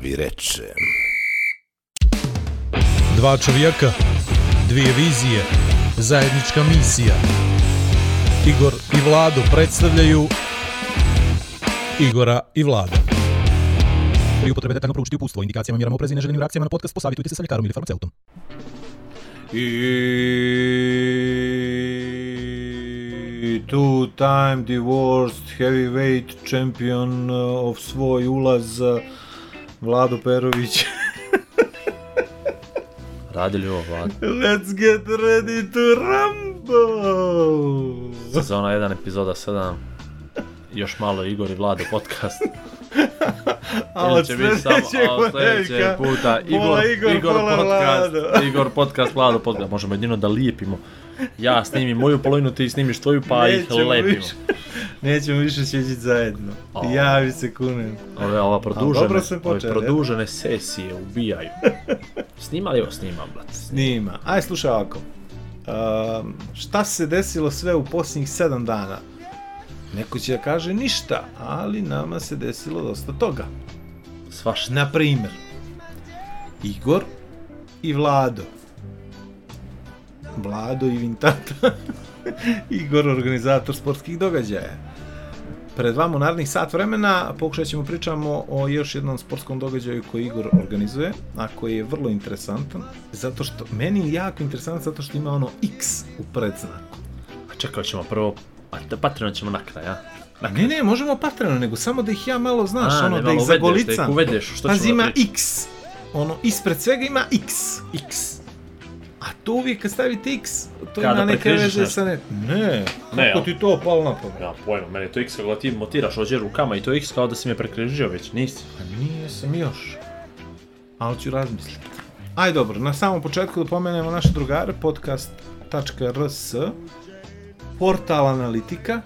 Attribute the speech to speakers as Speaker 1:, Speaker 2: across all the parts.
Speaker 1: vi reče.
Speaker 2: Dva čovjeka, dvije vizije, zajednička misija. Igor i Vlado predstavljaju Igora i Vlada. Pri upotrebe detaljno proučiti upustvo, indikacijama, mjerama oprezi i neželjenim reakcijama na podcast, posavitujte se sa ljekarom ili farmaceutom.
Speaker 3: I two-time the worst heavyweight champion uh, of svoj ulaz uh, Vlado Perović.
Speaker 4: Radi li ovo vlada?
Speaker 3: Let's get ready to rumble!
Speaker 4: Sezona 1, ono epizoda 7. Još malo Igor i Vlado podcast.
Speaker 3: A
Speaker 4: Ili
Speaker 3: od
Speaker 4: će biti samo-
Speaker 3: sljedećeg
Speaker 4: a od sljedećeg
Speaker 3: ponedjeljka
Speaker 4: puta
Speaker 3: pola
Speaker 4: Igor,
Speaker 3: Igor,
Speaker 4: Igor
Speaker 3: pola
Speaker 4: podcast,
Speaker 3: Vlado.
Speaker 4: Igor podcast, Vlado podcast. Možemo jedino da lijepimo. Ja snimim moju polovinu, ti snimiš tvoju, pa ih
Speaker 3: Nećemo
Speaker 4: lepimo.
Speaker 3: više- Nećemo više sjeđiti zajedno.
Speaker 4: A.
Speaker 3: Ja vi se kunem.
Speaker 4: Ove, ova produžene,
Speaker 3: dobro ste
Speaker 4: ove
Speaker 3: počeli,
Speaker 4: produžene sesije ubijaju. Snima li ovo? Snima, brat.
Speaker 3: Snima. Aj, slušaj ovako. Ehm, šta se desilo sve u posljednjih sedam dana? Neko će da kaže ništa, ali nama se desilo dosta toga.
Speaker 4: Svašta.
Speaker 3: Na primjer, Igor i Vlado. Vlado i Vintata. Igor, organizator sportskih događaja. Pred vama u narednih sat vremena pokušat ćemo pričamo o još jednom sportskom događaju koji Igor organizuje, a koji je vrlo interesantan, zato što, meni je jako interesantan zato što ima ono X u predznaku.
Speaker 4: A čekaj, ćemo prvo, pa da Patreon ćemo na kraj, a?
Speaker 3: A ne, ne, možemo patreno, nego samo da ih ja Dakle, malo, znaš,
Speaker 4: A,
Speaker 3: ono,
Speaker 4: ne,
Speaker 3: da ih
Speaker 4: malo uvedeš, Da ih
Speaker 3: zagolicam.
Speaker 4: uvedeš, što
Speaker 3: Pazi,
Speaker 4: ćemo da
Speaker 3: ima
Speaker 4: pričamo.
Speaker 3: X. Ono, ispred svega ima X. X. A to uvijek kad stavite X, to
Speaker 4: Kada
Speaker 3: ima neke
Speaker 4: prekrižiš
Speaker 3: veze
Speaker 4: nešto.
Speaker 3: sa ne... Ne,
Speaker 4: Ne,
Speaker 3: kako
Speaker 4: al-
Speaker 3: ti to palo na pamet?
Speaker 4: Ja pojma, meni je to X kako da ti motiraš ođe rukama i to X kao da si me prekrižio već, nisi.
Speaker 3: Pa Nije sam još. Ali ću razmisliti. Aj dobro, na samom početku da pomenemo naše drugare, podcast.rs, portal analitika,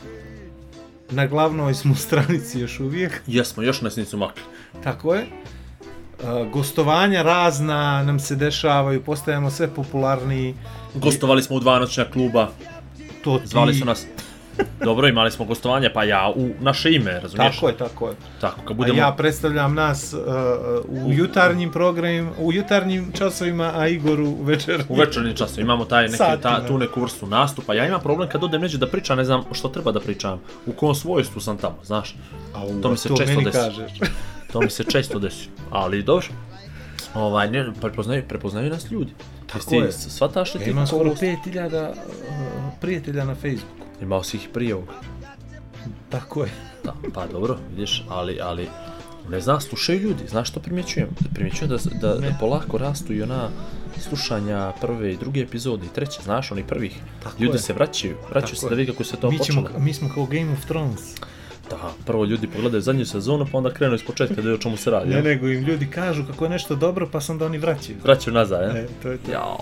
Speaker 3: na glavnoj smo stranici još uvijek,
Speaker 4: Jesmo, još nas nisu makli.
Speaker 3: Tako je. E, Gostovanja razna nam se dešavaju, postajemo sve popularniji.
Speaker 4: Gostovali smo u dva noćna kluba,
Speaker 3: To ti...
Speaker 4: zvali su nas... Dobro, imali smo gostovanje, pa ja, u naše ime, razumiješ?
Speaker 3: Tako je, tako je.
Speaker 4: Tako, kad
Speaker 3: A
Speaker 4: budemo...
Speaker 3: ja predstavljam nas e, u jutarnjim programima, u jutarnjim časovima, a Igor u večer.
Speaker 4: U večernjem času imamo taj neki,
Speaker 3: Satima.
Speaker 4: ta, tu neku vrstu nastupa. Ja imam problem kad odem neđe da pričam, ne znam što treba da pričam. U kom svojstvu sam tamo, znaš. to mi se često
Speaker 3: meni
Speaker 4: desi.
Speaker 3: kažeš.
Speaker 4: To mi se često desi. Ali dobro. Ovaj, ne, prepoznaju, prepoznaju nas ljudi. Tako
Speaker 3: je.
Speaker 4: Svataš li
Speaker 3: Ja
Speaker 4: ti?
Speaker 3: imam skoro
Speaker 4: koliko-
Speaker 3: 5000 uh, prijatelja na Facebooku.
Speaker 4: Imao si ih prije ovoga.
Speaker 3: Tako je.
Speaker 4: Da, pa dobro, vidiš, ali, ali ne znam, slušaju ljudi, znaš što primjećujem? Primjećujem da, da, da polako rastu i ona slušanja prve i druge epizode i treće, znaš, oni prvih.
Speaker 3: Tako
Speaker 4: ljudi
Speaker 3: je.
Speaker 4: se vraćaju, vraćaju
Speaker 3: Tako
Speaker 4: se
Speaker 3: je.
Speaker 4: da vidi kako se to
Speaker 3: mi, ćemo,
Speaker 4: počelo.
Speaker 3: mi smo kao Game of Thrones.
Speaker 4: Da, prvo ljudi pogledaju zadnju sezonu, pa onda krenu iz početka da vide o čemu se radi.
Speaker 3: Ne,
Speaker 4: jel?
Speaker 3: nego im ljudi kažu kako je nešto dobro, pa se onda oni vraćaju.
Speaker 4: Vraćaju nazad, ja?
Speaker 3: E, to je to.
Speaker 4: Jao.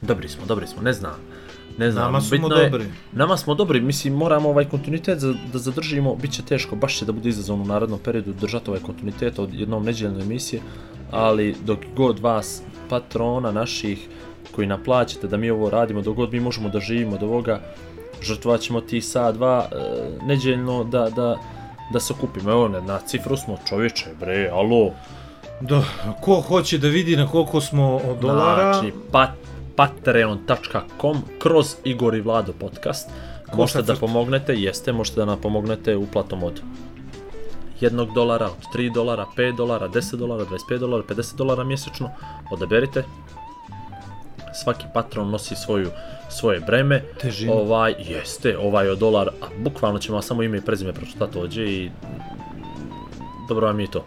Speaker 4: Dobri smo, dobri smo, ne znam. Ne znam,
Speaker 3: Nama smo
Speaker 4: bitno je-
Speaker 3: dobri.
Speaker 4: Nama smo dobri, mislim moramo ovaj kontinuitet za, da zadržimo, bit će teško, baš će da bude izazovno u narednom periodu držati ovaj kontinuitet od jednom neđeljne emisije, ali dok god vas, patrona naših koji naplaćate da mi ovo radimo, dok god mi možemo da živimo od ovoga, žrtvovat ćemo ti sa dva e, neđeljno da, da, da se okupimo. Evo, na, na cifru smo čovječe, bre, alo.
Speaker 3: Da, ko hoće da vidi na koliko smo od dolara,
Speaker 4: Znači, pat, patreon.com kroz Igor i Vlado podcast. Možete da
Speaker 3: crta.
Speaker 4: pomognete, jeste, možete da nam pomognete uplatom od 1 dolara, od 3 dolara, 5 dolara, 10 dolara, 25 dolara, 50 dolara mjesečno. Odaberite. Svaki patron nosi svoju svoje breme.
Speaker 3: Težinu.
Speaker 4: Ovaj, jeste, ovaj od dolar, a bukvalno ćemo vam samo ime i prezime pročitati ovdje i dobro vam je to.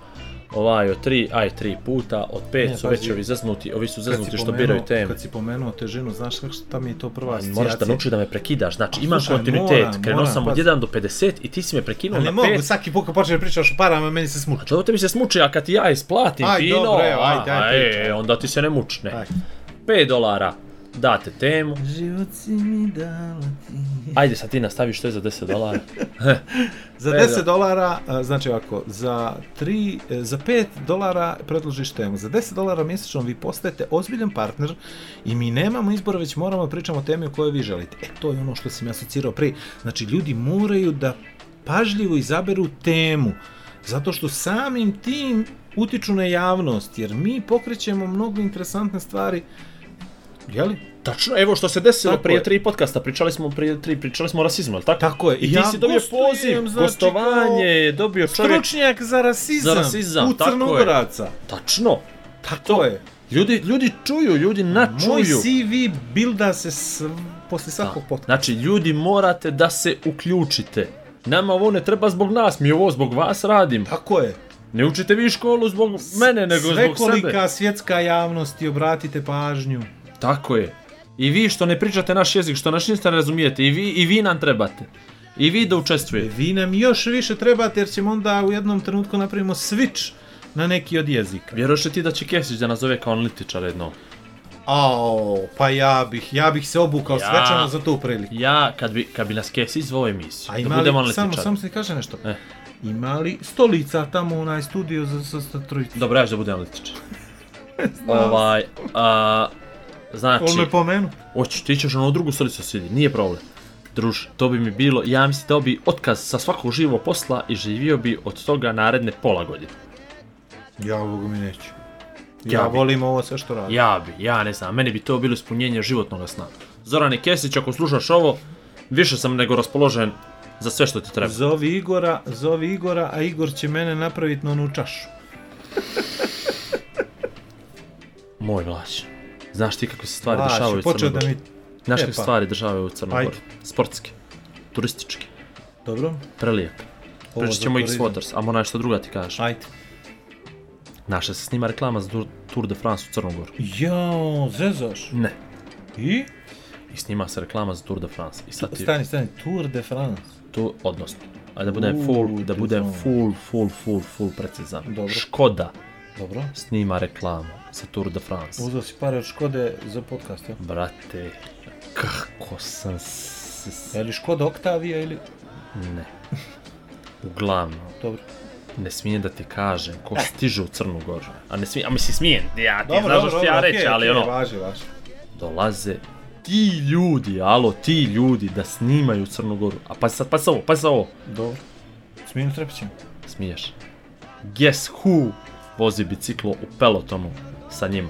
Speaker 4: Ovaj od 3, aj 3 puta, od 5
Speaker 3: Ne,
Speaker 4: su već
Speaker 3: pazi.
Speaker 4: ovi zeznuti, ovi su
Speaker 3: kad si,
Speaker 4: zeznuti što biraju
Speaker 3: pomenuo,
Speaker 4: teme.
Speaker 3: kad si pomenuo težinu, znaš kako šta mi je to prva asocijacija?
Speaker 4: Moraš da naučiš da me prekidaš, znači
Speaker 3: A,
Speaker 4: imaš
Speaker 3: slušaj,
Speaker 4: kontinuitet,
Speaker 3: moram,
Speaker 4: krenuo
Speaker 3: moram,
Speaker 4: sam od
Speaker 3: pazi.
Speaker 4: 1 do 50 i ti si me prekinuo
Speaker 3: Ali ne
Speaker 4: na
Speaker 3: mogu,
Speaker 4: 5.
Speaker 3: svaki put kad počneš pričaš o parama, meni se smuči.
Speaker 4: A to te mi se smuči, a kad ti ja isplatim
Speaker 3: Aj,
Speaker 4: fino,
Speaker 3: dobro, evo, ajde,
Speaker 4: a,
Speaker 3: ajde,
Speaker 4: e,
Speaker 3: pričaj.
Speaker 4: onda ti se ne mučne.
Speaker 3: Aj.
Speaker 4: 5 dolara, date temu,
Speaker 3: Život si mi dala ti.
Speaker 4: ajde sad ti nastavi što je za 10 dolara.
Speaker 3: Za
Speaker 4: E, da.
Speaker 3: 10 dolara, a, znači ovako, za, 3, za 5 dolara predložiš temu. Za 10 dolara mjesečno vi postajete ozbiljan partner i mi nemamo izbora, već moramo da pričamo o temi o kojoj vi želite. E, to je ono što sam ja asocirao prije. Znači, ljudi moraju da pažljivo izaberu temu. Zato što samim tim utiču na javnost, jer mi pokrećemo mnogo interesantne stvari. Jeli?
Speaker 4: Tačno, evo što se desilo
Speaker 3: Tako
Speaker 4: prije
Speaker 3: je.
Speaker 4: tri podcasta, pričali smo prije tri, pričali smo o rasizmu, ali tako?
Speaker 3: Tako je.
Speaker 4: I ti si dobio
Speaker 3: gostujem,
Speaker 4: poziv,
Speaker 3: znači,
Speaker 4: gostovanje, dobio
Speaker 3: kao
Speaker 4: čovjek.
Speaker 3: Stručnjak za rasizam,
Speaker 4: Za rasizam,
Speaker 3: u
Speaker 4: tako je.
Speaker 3: Crnogoraca.
Speaker 4: Tačno.
Speaker 3: Tako je.
Speaker 4: Ljudi, ljudi čuju, ljudi
Speaker 3: Moj
Speaker 4: načuju.
Speaker 3: CV bilda se s, posle svakog podcasta.
Speaker 4: Znači, ljudi morate da se uključite. Nama ovo ne treba zbog nas, mi ovo zbog vas radimo.
Speaker 3: Tako je.
Speaker 4: Ne učite vi školu zbog mene, nego zbog sebe.
Speaker 3: Svekolika svjetska javnost i obratite pažnju.
Speaker 4: Tako je. I vi što ne pričate naš jezik, što naš ništa ne razumijete, i vi, i vi nam trebate. I vi da učestvujete.
Speaker 3: Vi nam još više trebate jer ćemo onda u jednom trenutku napravimo switch na neki od jezika.
Speaker 4: Vjeroš li ti da će Kesić da nazove kao analitičar jednom?
Speaker 3: Ao, pa ja bih, ja bih se obukao
Speaker 4: Ja.
Speaker 3: svečano za tu priliku.
Speaker 4: Ja, kad bi, kad bi nas Kesić zvao emisiju,
Speaker 3: A
Speaker 4: da
Speaker 3: ima
Speaker 4: budemo
Speaker 3: li,
Speaker 4: analitičari.
Speaker 3: samo, samo se kaže nešto.
Speaker 4: E.
Speaker 3: Ima li stolica tamo onaj studio za, za, za trojicu?
Speaker 4: Dobro, ja ću da budem analitičar. ovaj, a, znači,
Speaker 3: On me pomenu.
Speaker 4: hoćeš, ti ćeš na onu drugu stolicu sjedi, nije problem. Druže, to bi mi bilo, ja mislim dao bi otkaz sa svakog živog posla i živio bi od toga naredne pola godine.
Speaker 3: Ja ovoga mi neću.
Speaker 4: Ja
Speaker 3: Ja,
Speaker 4: bi.
Speaker 3: volim ovo sve što radim.
Speaker 4: Ja bi, ja ne znam, meni bi to bilo ispunjenje životnog sna. Zorane Kesić, ako slušaš ovo, više sam nego raspoložen za sve što ti treba.
Speaker 3: Zovi Igora, zovi Igora, a Igor će mene napraviti na onu čašu.
Speaker 4: Moj mlađ, znaš ti kako se stvari
Speaker 3: Baš,
Speaker 4: dešavaju u
Speaker 3: počeo
Speaker 4: Crnoj
Speaker 3: da
Speaker 4: Gori?
Speaker 3: mi...
Speaker 4: Znaš
Speaker 3: E,
Speaker 4: kako se
Speaker 3: pa.
Speaker 4: stvari dešavaju u Crnoj
Speaker 3: Ajde.
Speaker 4: Gori? Sportske, turističke,
Speaker 3: Dobro.
Speaker 4: prelijepe.
Speaker 3: Ovo
Speaker 4: Pričat
Speaker 3: za
Speaker 4: ćemo
Speaker 3: turizam.
Speaker 4: X-Waters, a moram što druga ti kažeš.
Speaker 3: Ajde.
Speaker 4: Naša se snima reklama za Tour- Tour de France u Crnu Goru.
Speaker 3: Jao, zezaš.
Speaker 4: Ne.
Speaker 3: I?
Speaker 4: I snima se reklama za Tour de France. I sad ti
Speaker 3: Stani, stani, Tour de France.
Speaker 4: to, odnosno, a da budem
Speaker 3: U,
Speaker 4: full, da budem
Speaker 3: priznao.
Speaker 4: full, full, full, full precizan.
Speaker 3: Dobro.
Speaker 4: Škoda
Speaker 3: Dobro.
Speaker 4: snima reklamu za Tour de France.
Speaker 3: Uzeo si pare od Škode za podcast, ja?
Speaker 4: Brate, kako sam s... s-
Speaker 3: Je li Škoda Oktavija ili...
Speaker 4: Ne. Uglavnom,
Speaker 3: Dobro.
Speaker 4: ne smijem da ti kažem ko stiže u Crnu Goru. A ne smijem, a mislim smijem, ja
Speaker 3: E.
Speaker 4: ti
Speaker 3: Dobro,
Speaker 4: znaš
Speaker 3: dobro,
Speaker 4: što ću ja
Speaker 3: dobro,
Speaker 4: reći,
Speaker 3: okej,
Speaker 4: ali
Speaker 3: okej,
Speaker 4: ono,
Speaker 3: Važi, važi.
Speaker 4: dolaze ti ljudi, alo, ti ljudi da snimaju Crnu Goru. A pa sad, pa sad ovo, pa sad ovo.
Speaker 3: Dobro. Smijem trepećem.
Speaker 4: Smiješ. Guess who vozi biciklo u pelotonu sa njima.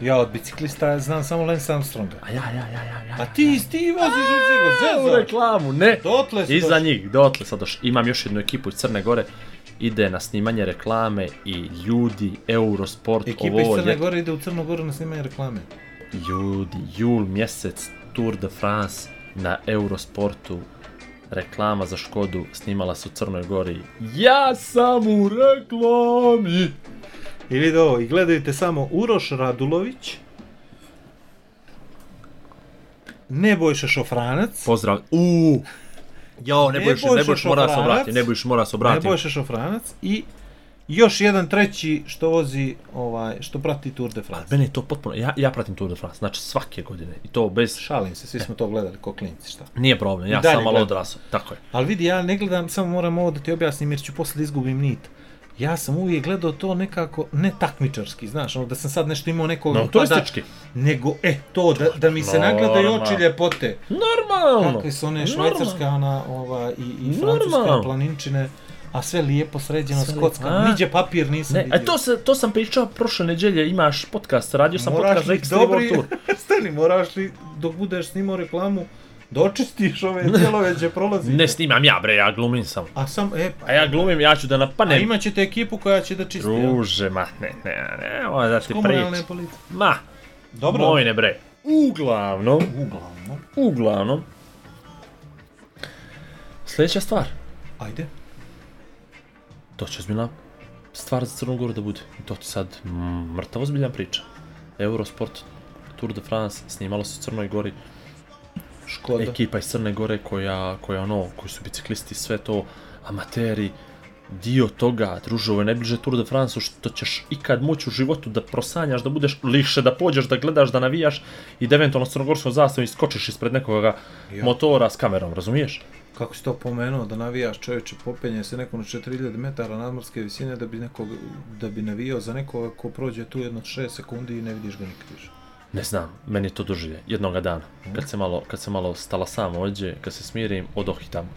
Speaker 3: Ja od biciklista znam samo Lance Armstronga.
Speaker 4: A ja, ja, ja, ja, ja.
Speaker 3: A ti, ti voziš bicikl,
Speaker 4: u
Speaker 3: zezaš.
Speaker 4: reklamu, ne.
Speaker 3: Dotle si
Speaker 4: Iza
Speaker 3: došao.
Speaker 4: njih, dotle sad došao. Imam još jednu ekipu iz Crne Gore. Ide na snimanje reklame i ljudi, Eurosport,
Speaker 3: Ekipa iz
Speaker 4: ovo,
Speaker 3: Crne
Speaker 4: ljeto.
Speaker 3: Gore ide u Crnu Goru na snimanje reklame.
Speaker 4: Ljudi, jul mjesec, Tour de France na Eurosportu, reklama za Škodu snimala se u Crnoj Gori. Ja sam u reklami!
Speaker 3: I vidi ovo, i gledajte samo Uroš Radulović, Nebojša Šofranac,
Speaker 4: Pozdrav. U. Jao, ne bojiš, ne
Speaker 3: Nebojša
Speaker 4: bojiš, mora se
Speaker 3: Šopranac.
Speaker 4: obratiti, ne bojiš, mora se obratiti.
Speaker 3: Nebojša Šofranac i još jedan treći što vozi, ovaj, što prati Tour de
Speaker 4: Ali
Speaker 3: France.
Speaker 4: meni je to potpuno, ja, ja pratim Tour de France, znači svake godine i to bez,
Speaker 3: Šalim se, svi smo to gledali ko klinci, šta.
Speaker 4: nije problem, ja
Speaker 3: I dalje
Speaker 4: sam malo
Speaker 3: gledam.
Speaker 4: odrasao, tako je.
Speaker 3: Ali vidi, ja ne gledam, samo moram ovo da ti objasnim jer ću poslije da izgubim nit. Ja sam uvijek gledao to nekako, ne takmičarski, znaš, ono da sam sad nešto imao nekog...
Speaker 4: No,
Speaker 3: napada,
Speaker 4: turistički.
Speaker 3: Nego, e, to, da, da mi se nagledaju
Speaker 4: Normalno.
Speaker 3: oči ljepote.
Speaker 4: Normalno.
Speaker 3: Kakve su one
Speaker 4: Normalno.
Speaker 3: švajcarska ona, ova, i, i
Speaker 4: Normalno.
Speaker 3: francuska planinčine, a sve lijepo sređeno,
Speaker 4: Sve
Speaker 3: skotska,
Speaker 4: lijepo, a?
Speaker 3: niđe papir nisam
Speaker 4: Ne,
Speaker 3: vidio.
Speaker 4: e to, se, to sam pričao prošle neđelje, imaš podcast, radio sam
Speaker 3: Moraš
Speaker 4: podcast za
Speaker 3: li
Speaker 4: Extreme
Speaker 3: dobri-
Speaker 4: World Tour.
Speaker 3: Stani, moraš li, dok budeš snimao reklamu, da očistiš ove dijelove gdje prolazi.
Speaker 4: Ne snimam ja bre, ja glumim sam.
Speaker 3: A sam, e, pa,
Speaker 4: A ja glumim, ja ću da
Speaker 3: a
Speaker 4: napanem.
Speaker 3: imat ćete ekipu koja će da čisti. jel?
Speaker 4: Druže, ma, ne, ne, ne, ovo da ti
Speaker 3: Komunalne
Speaker 4: prič.
Speaker 3: policije.
Speaker 4: Ma,
Speaker 3: Dobro.
Speaker 4: moj ne bre. Uglavnom,
Speaker 3: Uglavnom.
Speaker 4: uglavnom, sljedeća stvar.
Speaker 3: Ajde.
Speaker 4: To će ozbiljna stvar za Crnu Goru da bude. To ti sad mm, mrtav ozbiljna priča. Eurosport, Tour de France, snimalo se u Crnoj Gori.
Speaker 3: Škoda.
Speaker 4: Ekipa iz Crne Gore koja, koja ono, koji su biciklisti, sve to, amateri, dio toga, druže, ovo je najbliže Tour de France što ćeš ikad moći u životu da prosanjaš, da budeš liše, da pođeš, da gledaš, da navijaš i da eventualno s crnogorskom zastavom iskočiš ispred nekoga
Speaker 3: Ja.
Speaker 4: motora s kamerom, razumiješ?
Speaker 3: Kako si to pomenuo, da navijaš čovječe, popenje se neko na 4000 metara nadmorske visine da bi, nekog, da bi navijao za nekoga ko prođe tu jedno 6 sekundi i ne vidiš ga nikad više.
Speaker 4: Ne znam, meni je to doživlje, jednoga dana. Kad se malo, kad se malo stala sam ođe, kad se smirim, odohitam.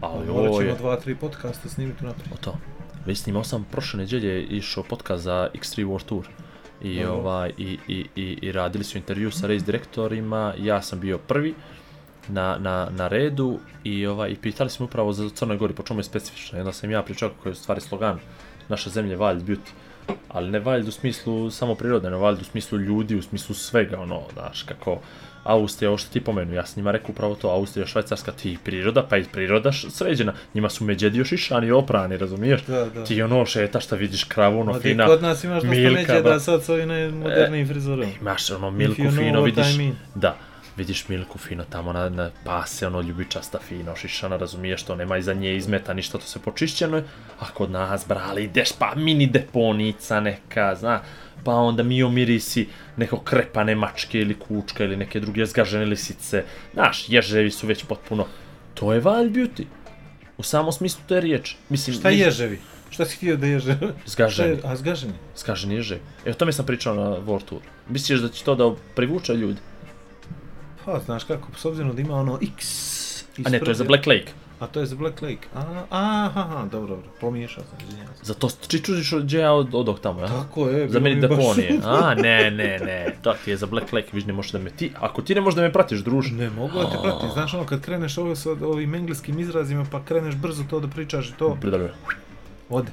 Speaker 4: Ali
Speaker 3: Morat
Speaker 4: ovo
Speaker 3: ćemo
Speaker 4: je,
Speaker 3: dva, tri podcasta snimiti unaprijed.
Speaker 4: o to. već snimao sam prošle neđelje išao podcast za X3 World Tour. I,
Speaker 3: Dobro.
Speaker 4: ovaj, i, i, i, i radili su intervju sa race direktorima, ja sam bio prvi na, na, na redu i, ovaj, i pitali smo upravo za Crnoj Gori, po čemu je specifično. I onda sam ja pričao kako je u stvari slogan naše zemlje Wild Beauty. Ali ne Wild u smislu samo prirode, ne Wild u smislu ljudi, u smislu svega, ono, znaš, kako Austrija, ovo što ti pomenu, ja sam njima rekao upravo to, Austrija, Švajcarska, ti i priroda, pa i priroda š- sređena, njima su međedi još išani i oprani, razumiješ?
Speaker 3: Da, da.
Speaker 4: Ti ono šeta šta vidiš kravu, ono,
Speaker 3: Ma ti
Speaker 4: fina,
Speaker 3: kod nas imaš dosta
Speaker 4: Milka,
Speaker 3: međe
Speaker 4: ba-
Speaker 3: da sad s ovim najmodernijim frizurom.
Speaker 4: Imaš ono Milku
Speaker 3: you know
Speaker 4: fino,
Speaker 3: what
Speaker 4: vidiš,
Speaker 3: I mean.
Speaker 4: da, vidiš Milku fino tamo na, na pase, ono ljubičasta fino, šišana, razumiješ to, nema iza nje izmeta, ništa, to sve počišćeno je, a kod nas, brale, ideš pa mini deponica neka, zna, pa onda mi omirisi neko krepane mačke ili kučka ili neke druge zgažene lisice, znaš, ježevi su već potpuno, to je wild beauty, u samom smislu te riječi, mislim,
Speaker 3: Šta
Speaker 4: niš-
Speaker 3: ježevi? Šta si htio da ježe? Šta
Speaker 4: zgaženi,
Speaker 3: je- A zgaženi?
Speaker 4: Skaže niže. E, o tome sam pričao na World Tour. Misliš da će to da privuče ljudi?
Speaker 3: Pa, znaš kako, s obzirom da ima ono X
Speaker 4: A ne, to je za
Speaker 3: ispred-
Speaker 4: Black Lake.
Speaker 3: A to je za Black Lake. A, aha, aha, dobro, dobro, pomiješao sam, izvinjavam se.
Speaker 4: Za to čičužiš od ja od odog tamo, ja?
Speaker 3: Tako je, bilo
Speaker 4: Za meni
Speaker 3: mi baš-
Speaker 4: deponije. A, ne, ne, ne. To ti je za Black Lake, viš ne možeš da me ti... Ako ti ne možeš da me pratiš, druže.
Speaker 3: Ne mogu da te pratim, znaš ono kad kreneš ovo sa ovim engleskim izrazima pa kreneš brzo to da pričaš i to,
Speaker 4: Pridaljujem.
Speaker 3: ode.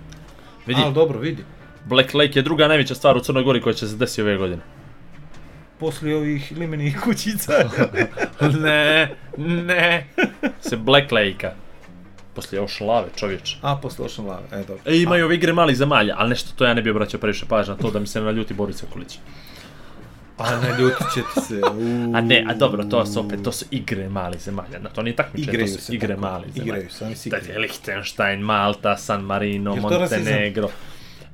Speaker 4: Vidi,
Speaker 3: Ali dobro, vidi.
Speaker 4: Black Lake je druga najveća stvar u Crnoj Gori koja će se desiti ove godine.
Speaker 3: Poslije ovih limenih kućica.
Speaker 4: ne, ne. Se Black Lake-a. Poslije još lave, čovječe.
Speaker 3: A, posle Ocean Love, e dobro.
Speaker 4: E, imaju ove igre malih zemalja, ali nešto to ja ne bi obraćao previše pažnje na to da mi se ne naljuti Boris Okulić.
Speaker 3: A ne ljuti će ti se.
Speaker 4: A ne, a dobro, to su opet, to su igre malih zemalja, na to nije takmičenje,
Speaker 3: Igraju
Speaker 4: to su
Speaker 3: se
Speaker 4: igre
Speaker 3: tako,
Speaker 4: malih zemalja.
Speaker 3: igraju se, oni se
Speaker 4: Da
Speaker 3: igraju.
Speaker 4: je Liechtenstein, Malta, San Marino,
Speaker 3: Jel to rasizam?
Speaker 4: Montenegro.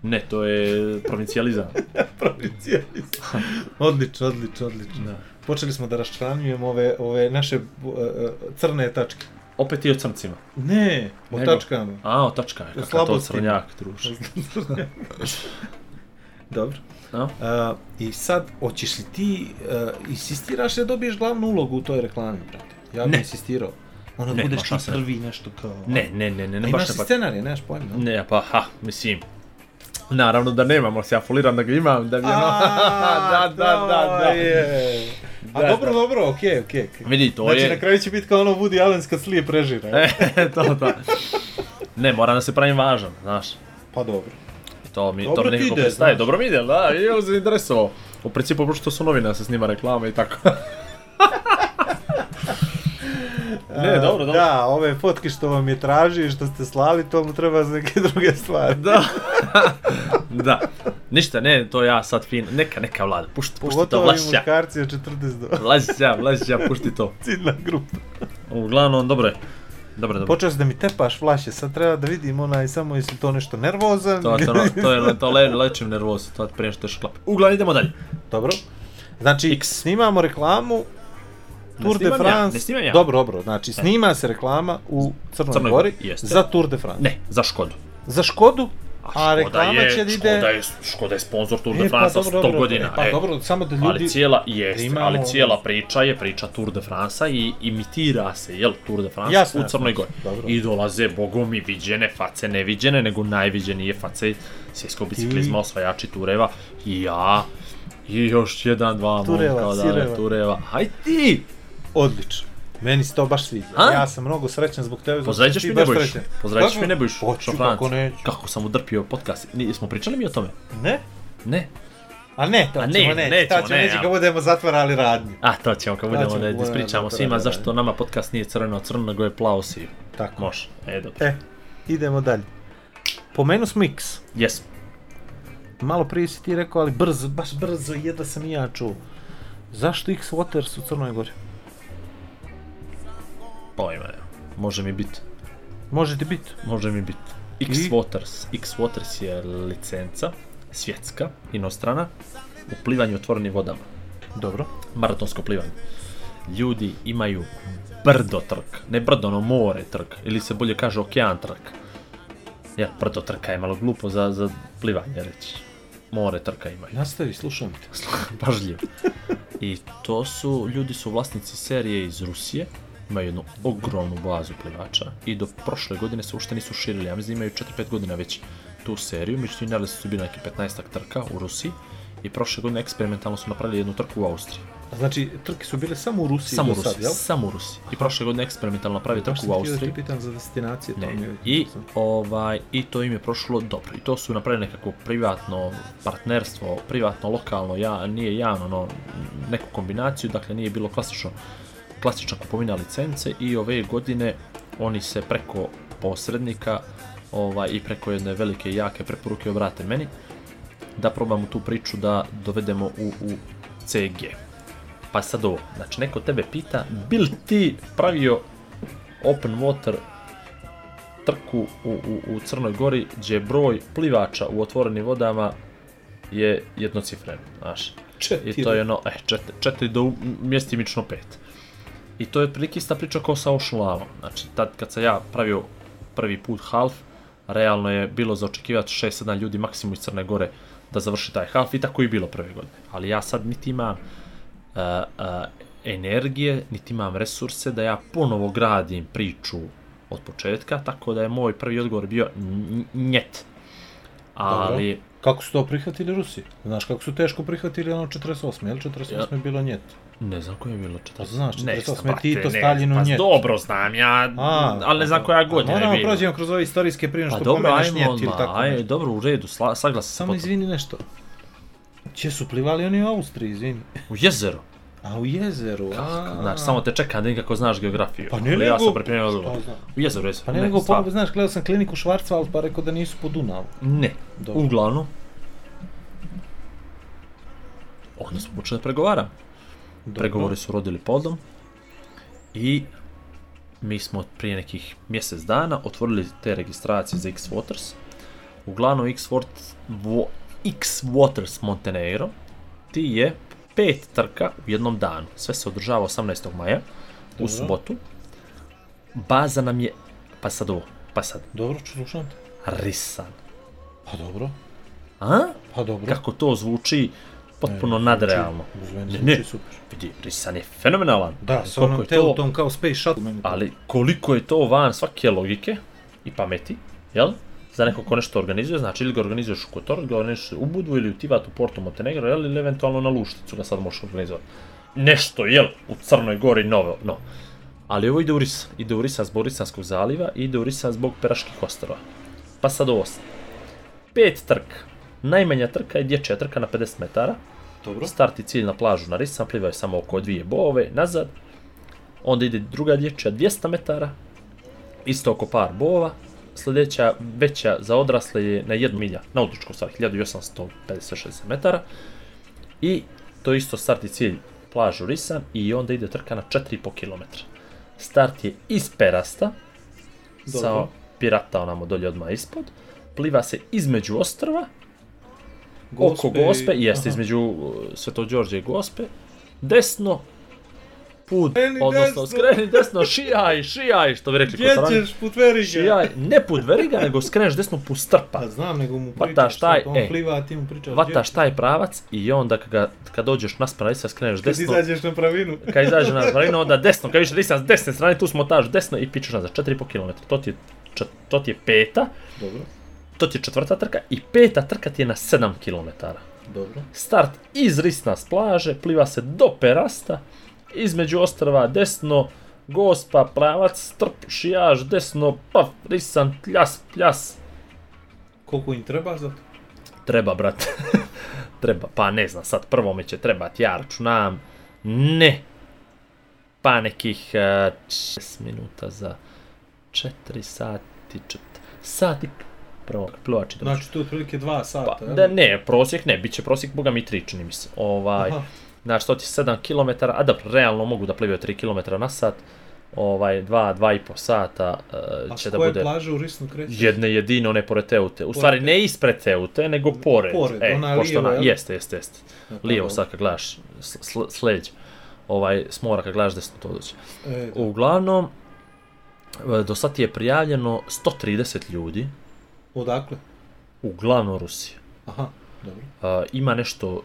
Speaker 4: Ne, to je provincijalizam.
Speaker 3: Provincijalisti. odlično, odlično, odlično.
Speaker 4: Da.
Speaker 3: Počeli smo da raščlanjujemo ove, ove naše e, e, crne tačke.
Speaker 4: Opet i o crncima.
Speaker 3: Ne, o
Speaker 4: Nego.
Speaker 3: tačkama.
Speaker 4: A, o tačka je, kakav to
Speaker 3: Slabosti.
Speaker 4: crnjak, druže.
Speaker 3: Dobro.
Speaker 4: A?
Speaker 3: Uh, I sad, hoćeš li ti, uh, insistiraš da dobiješ glavnu ulogu u toj reklami, brate? Ja bih
Speaker 4: Ne.
Speaker 3: insistirao. Ono,
Speaker 4: Ne,
Speaker 3: budeš
Speaker 4: baš
Speaker 3: ti
Speaker 4: ne.
Speaker 3: prvi nešto kao...
Speaker 4: Ne, ne, ne, ne,
Speaker 3: ne
Speaker 4: ne,
Speaker 3: imaš
Speaker 4: baš ne
Speaker 3: si
Speaker 4: pa...
Speaker 3: scenarij, nemaš pojma. Ne.
Speaker 4: Ne, pa ha, mislim, Naravno da nemam, ali se ja foliram da ga imam, da bi ono... da, da, da, da.
Speaker 3: Je. A
Speaker 4: Da,
Speaker 3: dobro,
Speaker 4: da.
Speaker 3: dobro, okej, okay, okej. Okay.
Speaker 4: Vidi, to
Speaker 3: Znači,
Speaker 4: je...
Speaker 3: na kraju će biti kao ono Woody Allen kad slijep režira. E.
Speaker 4: E, to, to. Ne, moram da se pravim važan, znaš.
Speaker 3: Pa dobro.
Speaker 4: To mi,
Speaker 3: Dobro
Speaker 4: to mi
Speaker 3: ti
Speaker 4: nekako
Speaker 3: ide,
Speaker 4: predstaje.
Speaker 3: znaš.
Speaker 4: Dobro mi ide, da, i ovo se interesovalo. U principu, pošto to su novina, se snima reklama i tako. ne,
Speaker 3: A,
Speaker 4: dobro, dobro.
Speaker 3: Da, ove fotke što vam je traži i što ste slali, to mu treba za neke druge stvari.
Speaker 4: Da. da. Ništa, ne, to ja sad fin... Neka, neka vlada, pušti, pušti to,
Speaker 3: Pogotovo ovi
Speaker 4: vlašća.
Speaker 3: muškarci od 42.
Speaker 4: Vlašća, vlašća, pušti to.
Speaker 3: Ciljna grupa.
Speaker 4: Uglavnom, dobro je. Dobro, dobro.
Speaker 3: Počeo si da mi tepaš flaše, sad treba da vidim onaj samo jesi to nešto nervozan.
Speaker 4: To, to, to, je, to le, lečim nervozu, to prije što je šklap. Uglavnom, idemo dalje.
Speaker 3: Dobro. Znači,
Speaker 4: X.
Speaker 3: snimamo reklamu Tour de
Speaker 4: snimam ja,
Speaker 3: France.
Speaker 4: ne snimam ja. E.
Speaker 3: Dobro, dobro, znači snima se reklama u Crnoj,
Speaker 4: Crnoj
Speaker 3: Gori
Speaker 4: Gori, jeste.
Speaker 3: za Tour de France.
Speaker 4: Ne, za Škodu.
Speaker 3: Za Škodu, a,
Speaker 4: Škoda
Speaker 3: reklama
Speaker 4: je,
Speaker 3: će da ide...
Speaker 4: Škoda je, Škoda je sponsor Tour
Speaker 3: E,
Speaker 4: de France
Speaker 3: pa
Speaker 4: pa,
Speaker 3: dobro,
Speaker 4: 100
Speaker 3: dobro,
Speaker 4: godina.
Speaker 3: e, pa
Speaker 4: e.
Speaker 3: dobro, samo da ljudi...
Speaker 4: Ali cijela, jeste,
Speaker 3: Imamo-
Speaker 4: ali cijela priča je priča Tour de France i imitira se, jel, Tour de France
Speaker 3: Jasno,
Speaker 4: u Crnoj
Speaker 3: jasno,
Speaker 4: Gori.
Speaker 3: dobro.
Speaker 4: I dolaze, bogom i viđene face, neviđene, nego najviđenije face svjetskog biciklizma, osvajači Tureva, i ja, i još jedan, dva
Speaker 3: Tureva,
Speaker 4: momka odavde,
Speaker 3: Sireva.
Speaker 4: Tureva. Haj ti!
Speaker 3: Odlično. Meni se to baš sviđa.
Speaker 4: A?
Speaker 3: Ja sam mnogo srećan zbog tebe. zato što
Speaker 4: Pozdravit ćeš
Speaker 3: si
Speaker 4: mi
Speaker 3: baš
Speaker 4: Nebojšu,
Speaker 3: srećan.
Speaker 4: pozdravit ćeš
Speaker 3: Kako?
Speaker 4: mi Nebojšu,
Speaker 3: Hoću,
Speaker 4: što
Speaker 3: kako
Speaker 4: Franc.
Speaker 3: neću.
Speaker 4: Kako sam udrpio podcast, Ni- smo pričali mi o tome?
Speaker 3: Ne?
Speaker 4: Ne?
Speaker 3: A ne, to
Speaker 4: A ne,
Speaker 3: ćemo ne,
Speaker 4: nećemo,
Speaker 3: to ćemo
Speaker 4: ne,
Speaker 3: neći
Speaker 4: a-
Speaker 3: kad budemo zatvarali radnju.
Speaker 4: A, to ćemo kad
Speaker 3: To
Speaker 4: budemo
Speaker 3: ćemo
Speaker 4: da
Speaker 3: kad budemo
Speaker 4: ispričamo
Speaker 3: da
Speaker 4: svima
Speaker 3: napravimo,
Speaker 4: zašto nama podcast nije crveno, crno nego je plavo siv.
Speaker 3: Tako.
Speaker 4: Može, e dobro.
Speaker 3: E, idemo dalje. Pomenu smo X.
Speaker 4: Jes,
Speaker 3: Malo prije si ti rekao, ali brzo, baš brzo, jedva sam i ja čuo. Zašto X Waters u Crnoj Gori?
Speaker 4: pojma nema. pa Može mi bit,
Speaker 3: Može ti biti.
Speaker 4: može mi bit. X
Speaker 3: I?
Speaker 4: Waters, X Waters je licenca, svjetska, inostrana, u plivanju otvorenim vodama,
Speaker 3: Dobro.
Speaker 4: maratonsko plivanje. Ljudi imaju brdo trk, ne brdo, ono more trk, ili se bolje kaže okean trk. Ja, brdo trka je malo glupo za, za plivanje reći. More trka imaju.
Speaker 3: Nastavi, slušam te.
Speaker 4: pažljiv. I to su, ljudi su vlasnici serije iz Rusije, imaju jednu ogromnu bazu plivača i do prošle godine se uopšte nisu širili, ja mislim da imaju 4-5 godina već tu seriju, međutim najavili su bili neki 15 trka u Rusiji i prošle godine eksperimentalno su napravili jednu trku u Austriji.
Speaker 3: Znači, trke su bile samo u Rusiji
Speaker 4: Samo u
Speaker 3: do sad,
Speaker 4: Rusiji,
Speaker 3: jel?
Speaker 4: samo u Rusiji. I prošle godine eksperimentalno napravili
Speaker 3: Baš
Speaker 4: trku
Speaker 3: sam
Speaker 4: u
Speaker 3: htio da
Speaker 4: Austriji.
Speaker 3: te pitam za destinacije, to mi
Speaker 4: Ne.
Speaker 3: je...
Speaker 4: I, ovaj, I to im je prošlo dobro. I to su napravili nekako privatno partnerstvo, privatno, lokalno, ja, nije javno, no, neku kombinaciju, dakle nije bilo klasično, klasična kupovina licence i ove godine oni se preko posrednika ovaj, i preko jedne velike jake preporuke obrate meni da probamo tu priču da dovedemo u, u CG. Pa sad ovo, znači neko tebe pita, bil ti pravio open water trku u, u, u Crnoj Gori gdje je broj plivača u otvorenim vodama je jednocifren, znaš.
Speaker 3: Četiri.
Speaker 4: I to je ono, eh, četiri, četiri do u- mjestimično pet. I to je otprilike ista priča kao sa Ocean Lavom. Znači, tad kad sam ja pravio prvi put half, realno je bilo za očekivati 6-7 ljudi maksimum iz Crne Gore da završi taj half i tako je bilo prve godine. Ali ja sad niti imam uh, uh, energije, niti imam resurse da ja ponovo gradim priču od početka, tako da je moj prvi odgovor bio nj- njet. Ali,
Speaker 3: Dobro. Kako su to prihvatili Rusi? Znaš kako su teško prihvatili ono 48. Jel 48
Speaker 4: Ja.
Speaker 3: je bilo njet?
Speaker 4: Ne znam koje je bilo 40.
Speaker 3: Pa znaš,
Speaker 4: Ne
Speaker 3: 48
Speaker 4: znam, brate,
Speaker 3: Tito,
Speaker 4: ne,
Speaker 3: Staljinu,
Speaker 4: pa
Speaker 3: njet.
Speaker 4: dobro znam ja,
Speaker 3: A, pa
Speaker 4: ali ne znam koja godina je
Speaker 3: Moramo
Speaker 4: bilo.
Speaker 3: prođemo kroz ove istorijske prije
Speaker 4: Pa
Speaker 3: što
Speaker 4: dobro,
Speaker 3: pomeneš
Speaker 4: ajmo
Speaker 3: njet ili
Speaker 4: odmah,
Speaker 3: tako
Speaker 4: aj,
Speaker 3: nešto.
Speaker 4: dobro, u redu, sla, saglasan sam
Speaker 3: Samo
Speaker 4: potom.
Speaker 3: izvini nešto. Če su plivali oni u Austriji, izvini.
Speaker 4: U jezero,
Speaker 3: A u jezeru, a...
Speaker 4: kako, znaš, samo te čeka da vidim kako znaš geografiju.
Speaker 3: Pa ne
Speaker 4: ali ja
Speaker 3: nego-
Speaker 4: sam pripremio odgovor.
Speaker 3: Šta znam.
Speaker 4: U jezeru, jezero,
Speaker 3: Pa ne, nego,
Speaker 4: stvarno.
Speaker 3: pa, znaš, gledao sam kliniku Schwarzwald pa rekao da nisu po Dunavu.
Speaker 4: Ne,
Speaker 3: Dobro.
Speaker 4: uglavnom, onda smo počeli da pregovaram.
Speaker 3: Dobro.
Speaker 4: Pregovori su rodili plodom i mi smo prije nekih mjesec dana otvorili te registracije za X-Waters. Uglavnom X-Waters, X-Waters Montenegro ti je pet trka u jednom danu. Sve se održava 18. maja u
Speaker 3: Dobro.
Speaker 4: subotu. Baza nam je, pa sad ovo, pa sad,
Speaker 3: Dobro, ču- slušam te.
Speaker 4: Risan.
Speaker 3: Pa dobro,
Speaker 4: A?
Speaker 3: pa dobro. E,
Speaker 4: Kako to zvuči potpuno
Speaker 3: Ne,
Speaker 4: nadrealno.
Speaker 3: Uz mene
Speaker 4: Ne,
Speaker 3: zvuči
Speaker 4: ne.
Speaker 3: super.
Speaker 4: Vidi, Risan je fenomenalan.
Speaker 3: Da, sa
Speaker 4: Koliko
Speaker 3: onom
Speaker 4: je to-
Speaker 3: Teutom kao Space Shuttle. meni to-
Speaker 4: ali koliko je to van svake logike i pameti, jel? Za neko ko nešto organizuje, znači ili ga organizuješ u Kotor, ga organizuješ u Budvu ili u Tivat u Porto Montenegro, jel? Ili eventualno na Lušticu ga sad možeš organizovati. Nešto, jel? U Crnoj Gori, novo, no. Ali ovo ide u Risa. Ide u Risa zbog Risanskog zaliva i ide u Risa zbog Peraških ostrava. Pa sad ovo. Pet trka. Najmanja trka je dječja trka na 50 metara.
Speaker 3: Dobro.
Speaker 4: Start i cilj na plažu na Risan, plivaju samo oko dvije bove, nazad. Onda ide druga dječja 200 metara, isto oko par bova. Sljedeća veća za odrasle je na jednu milja, nautičku stvar, 1856 metara. I to je isto start i cilj plažu Risan i onda ide trka na 4,5 km. Start je iz Perasta, sa
Speaker 3: Dobro.
Speaker 4: pirata onamo dolje odmah ispod. Pliva se između ostrva,
Speaker 3: Gospe
Speaker 4: oko Gospe,
Speaker 3: i-
Speaker 4: jeste
Speaker 3: aha.
Speaker 4: između uh, Sveto Đorđe i Gospe, desno, put,
Speaker 3: Skreni
Speaker 4: odnosno
Speaker 3: desno.
Speaker 4: skreni desno, šijaj, šijaj, što bi rekli Kotorani.
Speaker 3: put verige?
Speaker 4: Šijaj, ne put veriga, nego skreneš desno put strpa.
Speaker 3: Pa znam, nego mu
Speaker 4: Vataš
Speaker 3: pričaš, Vataš
Speaker 4: taj,
Speaker 3: taj, on
Speaker 4: e.
Speaker 3: pliva, a ti mu pričaš.
Speaker 4: Vataš taj pravac i onda kad, ga, kad dođeš naspram Risa skreneš
Speaker 3: Kad
Speaker 4: desno,
Speaker 3: izađeš na pravinu.
Speaker 4: kad izađeš na pravinu onda desno, kad više Risa s desne strane tu smotaš desno i pičeš nazad, 4,5 km, to ti je, čet, to ti je peta,
Speaker 3: Dobro,
Speaker 4: to ti je četvrta trka i peta trka ti je na 7 km.
Speaker 3: dobro.
Speaker 4: Start iz Risna s plaže, pliva se do Perasta, između ostrva desno, Gospa, Pravac, Strp, Šijaž, desno, pa Risan, Pljas, Pljas.
Speaker 3: Koliko im treba za to?
Speaker 4: Treba, brate. treba, pa ne znam, sad prvo mi će trebat, ja računam, ne. Pa nekih uh, 6 minuta za 4 sati, 4 sati, prvo, plovači dođu.
Speaker 3: Znači, to je otprilike dva sata,
Speaker 4: Pa,
Speaker 3: jel?
Speaker 4: da ne, prosjek ne, bit će prosjek, boga mi 3 čini mi se. Ovaj,
Speaker 3: Aha,
Speaker 4: Znaš, to ti je 7 km, a da, realno mogu da plivaju 3 km na sat, ovaj, 2, 2,5 sata uh,
Speaker 3: a
Speaker 4: će
Speaker 3: s
Speaker 4: da
Speaker 3: koje
Speaker 4: bude
Speaker 3: plaže u Risnu krećeš?
Speaker 4: jedne jedine, one pored Teute. U stvari, ne ispred Teute, nego pored. E,
Speaker 3: Pored, ona lijevo,
Speaker 4: ona-
Speaker 3: jel?
Speaker 4: Jeste, jeste, jeste.
Speaker 3: Aha,
Speaker 4: Lijevo
Speaker 3: dobro.
Speaker 4: sad kad gledaš, sl, sl, sleđ. Ovaj, s mora kad gledaš desno to dođe.
Speaker 3: E, da.
Speaker 4: Uglavnom, e, do sad ti je prijavljeno 130 ljudi,
Speaker 3: Odakle?
Speaker 4: uglavnom Rusija.
Speaker 3: Aha, dobro.
Speaker 4: Uh, ima nešto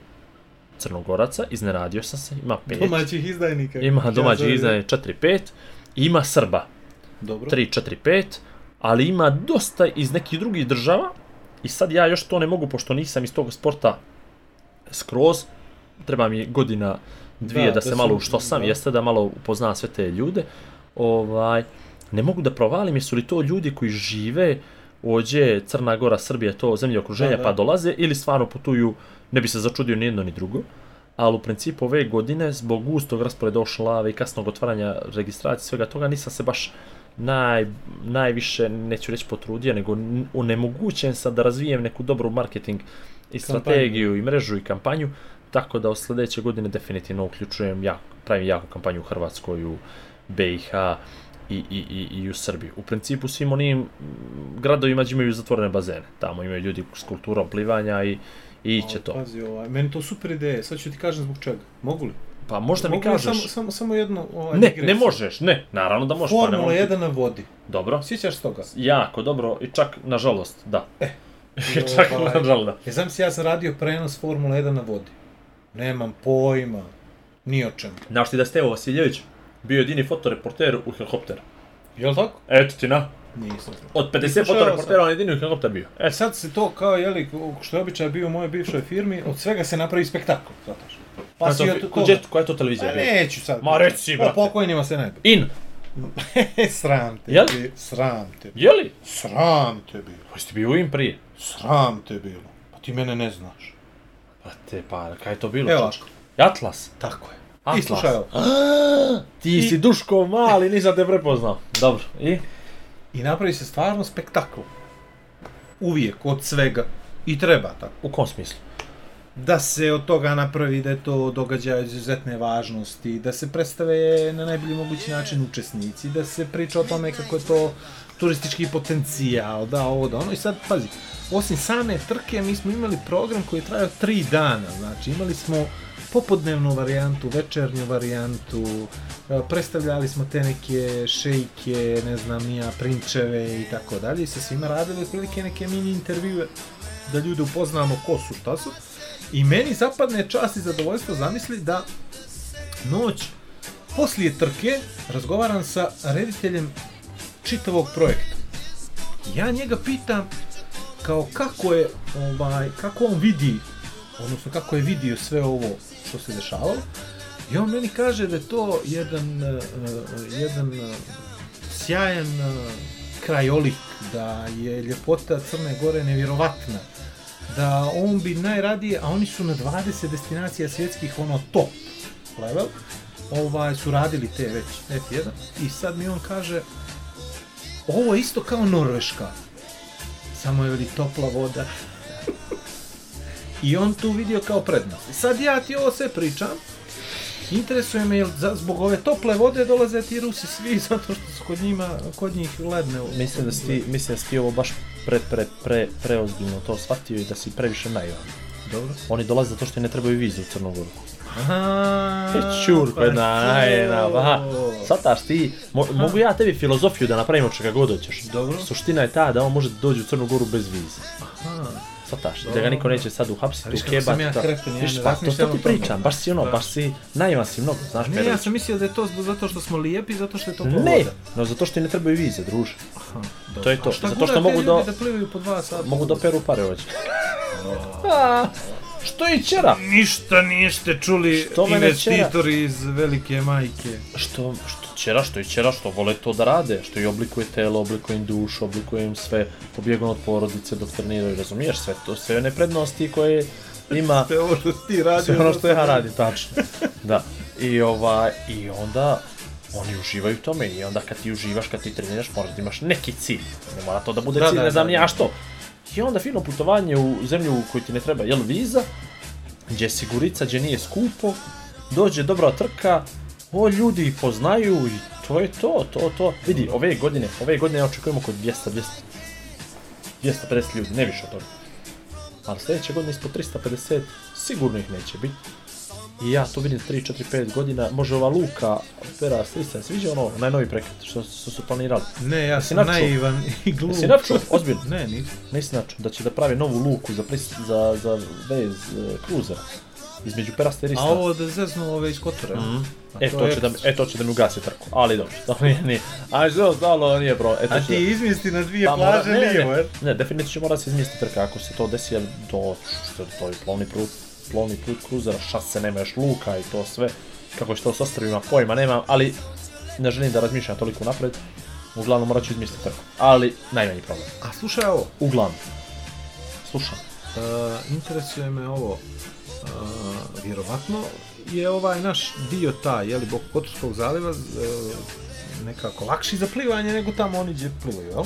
Speaker 4: crnogoraca, iznenadio sam se, ima pet.
Speaker 3: Domaćih izdajnika.
Speaker 4: Ima
Speaker 3: Ja
Speaker 4: domaći
Speaker 3: zovem.
Speaker 4: izdaje 4-5, ima Srba
Speaker 3: Dobro.
Speaker 4: 3-4-5, ali ima dosta iz nekih drugih država I sad ja još to ne mogu, pošto nisam iz tog sporta skroz, treba mi godina dvije
Speaker 3: Da,
Speaker 4: da,
Speaker 3: da
Speaker 4: se
Speaker 3: se-
Speaker 4: malo što sam,
Speaker 3: da.
Speaker 4: jeste da malo upoznam sve te ljude. Ovaj, ne mogu da provalim jesu li to ljudi koji žive ođe Crna Gora, Srbija, to zemlje okruženja
Speaker 3: Da, da.
Speaker 4: pa dolaze ili stvarno putuju, ne bi se začudio ni jedno ni drugo. Ali u principu ove godine zbog gustog rasporeda ošlave i kasnog otvaranja registracije svega toga nisam se baš naj, najviše, neću reći potrudio, nego n- onemogućen sam da razvijem neku dobru marketing i strategiju i mrežu i kampanju, tako da od sljedeće godine definitivno uključujem, jako, pravim jaku kampanju u Hrvatskoj, u BiH i, i, i, i u Srbiji. U principu svim onim mm, gradovima gdje imaju zatvorene bazene, tamo imaju ljudi s kulturom plivanja i, i iće
Speaker 3: Ali,
Speaker 4: to.
Speaker 3: Pazi, ovaj, meni to super ideja, sad ću ti kažem zbog čega. Mogu li?
Speaker 4: Pa možda mi
Speaker 3: Mogu li Samo,
Speaker 4: kažeš...
Speaker 3: samo, samo jednu ovaj,
Speaker 4: Ne, ne
Speaker 3: digresiju?
Speaker 4: možeš, ne, naravno da možeš. pa ne
Speaker 3: Formula
Speaker 4: mogu ti-
Speaker 3: 1 na vodi.
Speaker 4: Dobro,
Speaker 3: Sjećaš se toga?
Speaker 4: jako dobro i čak, nažalost, da. E, čak,
Speaker 3: Ovaj,
Speaker 4: nažalost, da.
Speaker 3: Ja znam si, ja sam radio prenos Formula 1 na vodi. Nemam pojma. Ni o čemu.
Speaker 4: Znaš ti da je Stevo Vasiljević bio jedini fotoreporter u helikopteru.
Speaker 3: Jel tako?
Speaker 4: Eto ti na.
Speaker 3: Nisam znao.
Speaker 4: Od 50
Speaker 3: Iskušavao
Speaker 4: fotoreportera on je jedini u helikopter bio. E,
Speaker 3: E sad se to kao, jeli, što je običaj bio u mojoj bivšoj firmi, od svega se napravi spektakl, shvataš. Pa
Speaker 4: Значи,
Speaker 3: si od Pa toga.
Speaker 4: Gdje, koja je to
Speaker 3: A
Speaker 4: televizija bila?
Speaker 3: neću sad.
Speaker 4: Ma reci, brate.
Speaker 3: O pokojnima se ne bi.
Speaker 4: In,
Speaker 3: sram te
Speaker 4: Jel?
Speaker 3: bi, sram te bi.
Speaker 4: jeli?
Speaker 3: Sram te bi,
Speaker 4: Pa jesi bio u In prije?
Speaker 3: sram te bilo. Pa ti mene ne znaš.
Speaker 4: Pa te pa, kaj je to bilo?
Speaker 3: Evo
Speaker 4: čovječe?
Speaker 3: ovako.
Speaker 4: Atlas.
Speaker 3: Tako je. I
Speaker 4: Atlas.
Speaker 3: slušaj ovo.
Speaker 4: Ti si Duško mali, nisam te prepoznao. Dobro, i?
Speaker 3: I napravi se stvarno spektakl. Uvijek, od svega. I treba tako.
Speaker 4: U kom smislu?
Speaker 3: Da se od toga napravi da je to događaj od izuzetne važnosti, da se predstave na najbolji mogući način učesnici, da se priča o tome kako je to turistički potencijal, da ovo, da ono. I sad, pazi, osim same trke, mi smo imali program koji je trajao tri dana, znači imali smo popodnevnu varijantu, večernju varijantu, e, predstavljali smo te neke šejke, ne znam, nija, prinčeve i tako dalje i sa svima radili otprilike neke mini intervjue da ljude upoznamo ko su, šta su. I meni zapadne čast i zadovoljstvo zamisli da noć poslije trke razgovaram sa rediteljem čitavog projekta. Ja njega pitam kao kako je ovaj kako on vidi odnosno kako je vidio sve ovo što se dešavalo i on meni kaže da je to jedan eh, eh, jedan eh, sjajan eh, krajolik da je ljepota Crne Gore nevjerovatna da on bi najradije, a oni su na 20 destinacija svjetskih ono top level, ovaj, su radili te već F1 i sad mi on kaže ovo je isto kao Norveška samo je li topla voda i on tu vidio kao prednost. I sad ja ti ovo sve pričam interesuje me jel za, zbog ove tople vode dolaze ti Rusi svi zato što su kod njima kod njih ledne u-
Speaker 4: Mislim da si ti, mislim da si ti ovo baš pre, pre, pre, preozbiljno to shvatio i da si previše naivan.
Speaker 3: dobro
Speaker 4: Oni dolaze zato što im ne trebaju vizu u Crnu Goru.
Speaker 3: Aha,
Speaker 4: E, Čurko,
Speaker 3: pa
Speaker 4: jedna ajena, ba.
Speaker 3: to.
Speaker 4: Sataš ti, mo, mogu ja tebi filozofiju da napravim od čega god hoćeš.
Speaker 3: Dobro.
Speaker 4: Suština je ta da on može da dođe u Crnu Goru bez vize.
Speaker 3: Aha.
Speaker 4: Sataš, da
Speaker 3: Dobro.
Speaker 4: ga niko neće sad
Speaker 3: A
Speaker 4: uhapsiti,
Speaker 3: viš kako
Speaker 4: ukebat.
Speaker 3: sam ja
Speaker 4: da-
Speaker 3: kreten, ja
Speaker 4: Viš,
Speaker 3: ne
Speaker 4: pa, to,
Speaker 3: razmišljam
Speaker 4: to ti
Speaker 3: o tome.
Speaker 4: pričam, baš si ono,
Speaker 3: Da.
Speaker 4: baš si, naivan si mnogo, znaš
Speaker 3: Ne, ja
Speaker 4: Perović.
Speaker 3: sam mislio da je to zbog- zato što smo lijepi, zato što je to
Speaker 4: Ne, no zato što im ne trebaju vize, druže. To je to, zato što mogu
Speaker 3: da...
Speaker 4: da,
Speaker 3: da plivaju po dva sata?
Speaker 4: mogu da peru pare hoće. A, Što i čera?
Speaker 3: Ništa niste čuli
Speaker 4: Što me ne investitori
Speaker 3: iz velike majke.
Speaker 4: Što, što čera, što i čera, što vole to da rade, što i oblikuje telo, oblikuje im dušu, oblikuje im sve, pobjegom od porodice dok treniraju, razumiješ sve to, sve one prednosti koje ima,
Speaker 3: Sve ovo što si ti radio...
Speaker 4: sve ono što ja
Speaker 3: sam-
Speaker 4: radim, tačno. Da, i ovaj, i onda oni uživaju u tome i onda kad ti uživaš, kad ti treniraš, moraš da imaš neki cilj, ne mora to da bude
Speaker 3: Da,
Speaker 4: cilj,
Speaker 3: da,
Speaker 4: ne znam
Speaker 3: da,
Speaker 4: ni
Speaker 3: da.
Speaker 4: ja što. I onda fino putovanje u zemlju u koju ti ne treba, jel viza, gdje je sigurica, gdje nije skupo, dođe dobra trka, o ljudi ih poznaju i to je to, to, to. Vidi, ove godine, ove godine ja očekujemo oko 200, 200, 250 ljudi, ne više od toga. Ali sljedeće godine ispod 350 sigurno ih neće biti. I ja to vidim 3, 4, 5 godina, može ova Luka, Pera, Strisa, sviđa ono, najnovi prekret što, što su planirali.
Speaker 3: Ne, ja
Speaker 4: Jesi
Speaker 3: sam
Speaker 4: načuo?
Speaker 3: naivan i glup.
Speaker 4: Jesi načuo? Ozbiljno?
Speaker 3: Ne, nisam.
Speaker 4: Mislim znači da će da pravi novu luku za, pres, za, za vez e, kruzera. između Perasta i
Speaker 3: A
Speaker 4: Ristasa.
Speaker 3: ovo da zeznu ove iz Kotora. Mm.
Speaker 4: E, to će, da, mi- e, to će da mi ugasi trku, ali dobro, to nije, nije. A što ostalo nije pro, e, to
Speaker 3: A
Speaker 4: će
Speaker 3: ti izmisti na dvije
Speaker 4: Pa, mora-
Speaker 3: plaže lijevo, jer?
Speaker 4: ne, definitivno će morati se izmijesti trka, ako se to desi, jer to, što, to je plovni put, plovni put kruzera, šase, nema još luka i to sve, kako će to s ostrvima, pojma nemam, ali ne želim da razmišljam toliko napred, uglavnom morat ću izmisliti trku, ali najmanji problem,
Speaker 3: A slušaj ovo,
Speaker 4: uglavnom, slušam,
Speaker 3: Uh, interesuje me ovo, uh, vjerovatno je ovaj naš dio taj, jeli, bok Kotorskog zaliva uh, nekako lakši za plivanje nego tamo oni gdje plivaju, jel?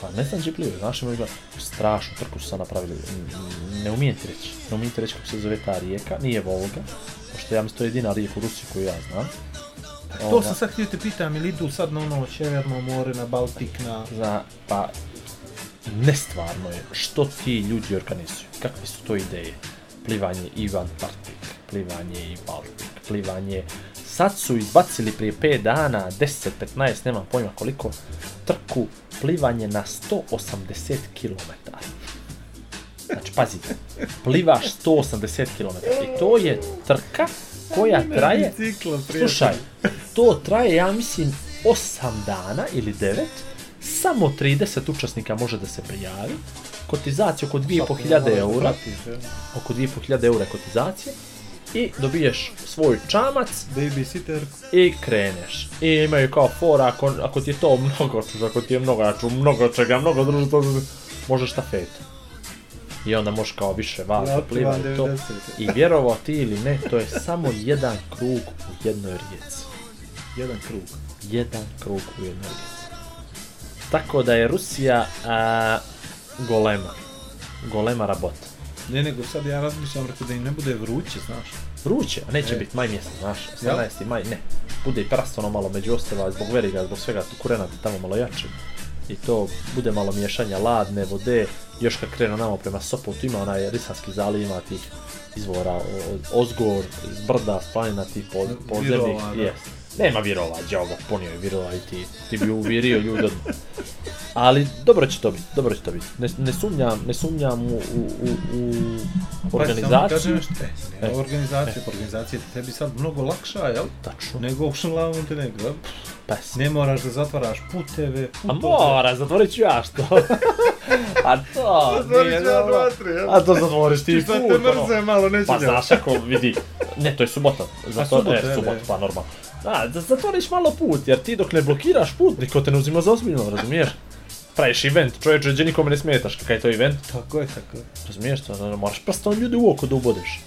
Speaker 4: pa ne znam džipljivo, znaš ima izgleda, strašnu trku su sad napravili, Mm, ne umijem ti reći, ne umijem ti reći kako se zove ta rijeka, nije Volga, pošto ja mislim to je jedina rijeka u Rusiji koju ja znam,
Speaker 3: To
Speaker 4: Ona-
Speaker 3: sam sad htio te pitam, ili idu sad na ono Sjeverno more, na Baltik, na...
Speaker 4: Zna, pa nestvarno je što ti ljudi organizuju, kakve su to ideje. Plivanje i van Arktik, plivanje i Baltik, plivanje... Sad su izbacili prije 5 dana, 10, 15, nemam pojma koliko, trku plivanje na 180 km. Znači, pazi, plivaš 180 km i to je trka koja traje
Speaker 3: Ciklo,
Speaker 4: Slušaj, to traje, ja mislim, 8 dana ili 9. Samo 30 učesnika može da se prijavi. Kotizacija oko 2500 eura. Oko 2500 eura je kotizacija. I dobiješ svoj čamac
Speaker 3: Baby sitter.
Speaker 4: i kreneš. I imaju kao fora, ako, ako ti je to mnogo, čuš, ako ti je mnogo, ja ću mnogo čega, mnogo druži, to možeš štafetu. I onda možeš kao više vas
Speaker 3: Ja,
Speaker 4: da pliva i to.
Speaker 3: 90.
Speaker 4: I vjerovao ti ili ne, to je samo jedan krug u jednoj rijeci
Speaker 3: Jedan krug.
Speaker 4: jedan krug u jednoj lici. Tako da je Rusija a, golema. Golema rabota.
Speaker 3: Ne, nego sad ja razmišljam, rekao da im ne bude vruće, znaš.
Speaker 4: Vruće, a neće
Speaker 3: E.
Speaker 4: biti maj mjesec, znaš,
Speaker 3: Jel?
Speaker 4: 18. maj, ne. Bude i prast ono malo među ostrava, zbog veriga, zbog svega tu kurenata tamo malo jače. I to bude malo miješanja ladne vode, još kad krenu namo prema Sopotu, ima onaj Risanski zaliv, ima tih izvora, o- od Ozgor, iz brda, spanina tih pod, podzemnih,
Speaker 3: Virova, da.
Speaker 4: jest. Nema virova, džavo ga, ponio je virova i ti, ti bi uvirio ljudi odmah. Ali dobro će to biti, dobro će to biti. Ne, ne sumnjam, ne sumnjam u, u, u, u
Speaker 3: Pa,
Speaker 4: organizaciju.
Speaker 3: e, ne,
Speaker 4: E.
Speaker 3: organizacija, pa organizacija je tebi sad mnogo lakša, jel?
Speaker 4: Tačno.
Speaker 3: Nego u Šenlavu Montenegro, jel?
Speaker 4: Pa s-
Speaker 3: Ne moraš da zatvaraš puteve,
Speaker 4: A
Speaker 3: putove.
Speaker 4: mora, zatvorit ću ja što. A to, nije dobro.
Speaker 3: jel?
Speaker 4: A to zatvoriš ti
Speaker 3: Šta
Speaker 4: put,
Speaker 3: te
Speaker 4: ono.
Speaker 3: mrze malo, neću
Speaker 4: Pa
Speaker 3: njel.
Speaker 4: znaš ako vidi, ne to je subota, zato
Speaker 3: subota,
Speaker 4: je
Speaker 3: je,
Speaker 4: subota,
Speaker 3: je.
Speaker 4: pa normalno. Da, da zatvoriš malo put, jer ti dok ne blokiraš put, niko te ne uzima za ozbiljno, razumiješ? Praviš event, čovječe, gdje nikome ne smetaš, kakav je to event,
Speaker 3: Tako je, tako je.
Speaker 4: razumiješ to, ono, moraš prstom ljudi u oko da ubodeš.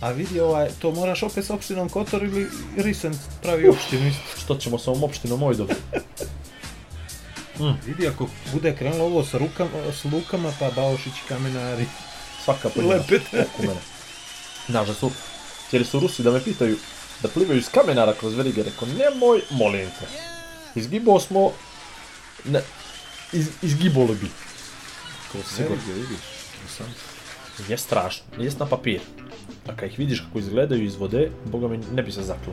Speaker 3: A vidi ovaj, to moraš opet s opštinom Kotor ili Risen pravi opštinu isto.
Speaker 4: Što ćemo sa ovom opštinom moj dobiti?
Speaker 3: Vidi, ako bude krenulo ovo sa, rukama, s lukama, pa Baošić i Kamenari.
Speaker 4: Svaka pojedina
Speaker 3: Lepet.
Speaker 4: oko mene. Znaš da su, htjeli su Rusi da me pitaju, da plivaju iz kamenara kroz verige, rekao, nemoj, molim te. Izgibao smo, ne, iz, izgibalo bi. To je sigurno.
Speaker 3: Sigurno vidiš. Sam.
Speaker 4: Je strašno, jest na papir. A kad ih vidiš kako izgledaju iz vode, boga mi ne bi se zaklo.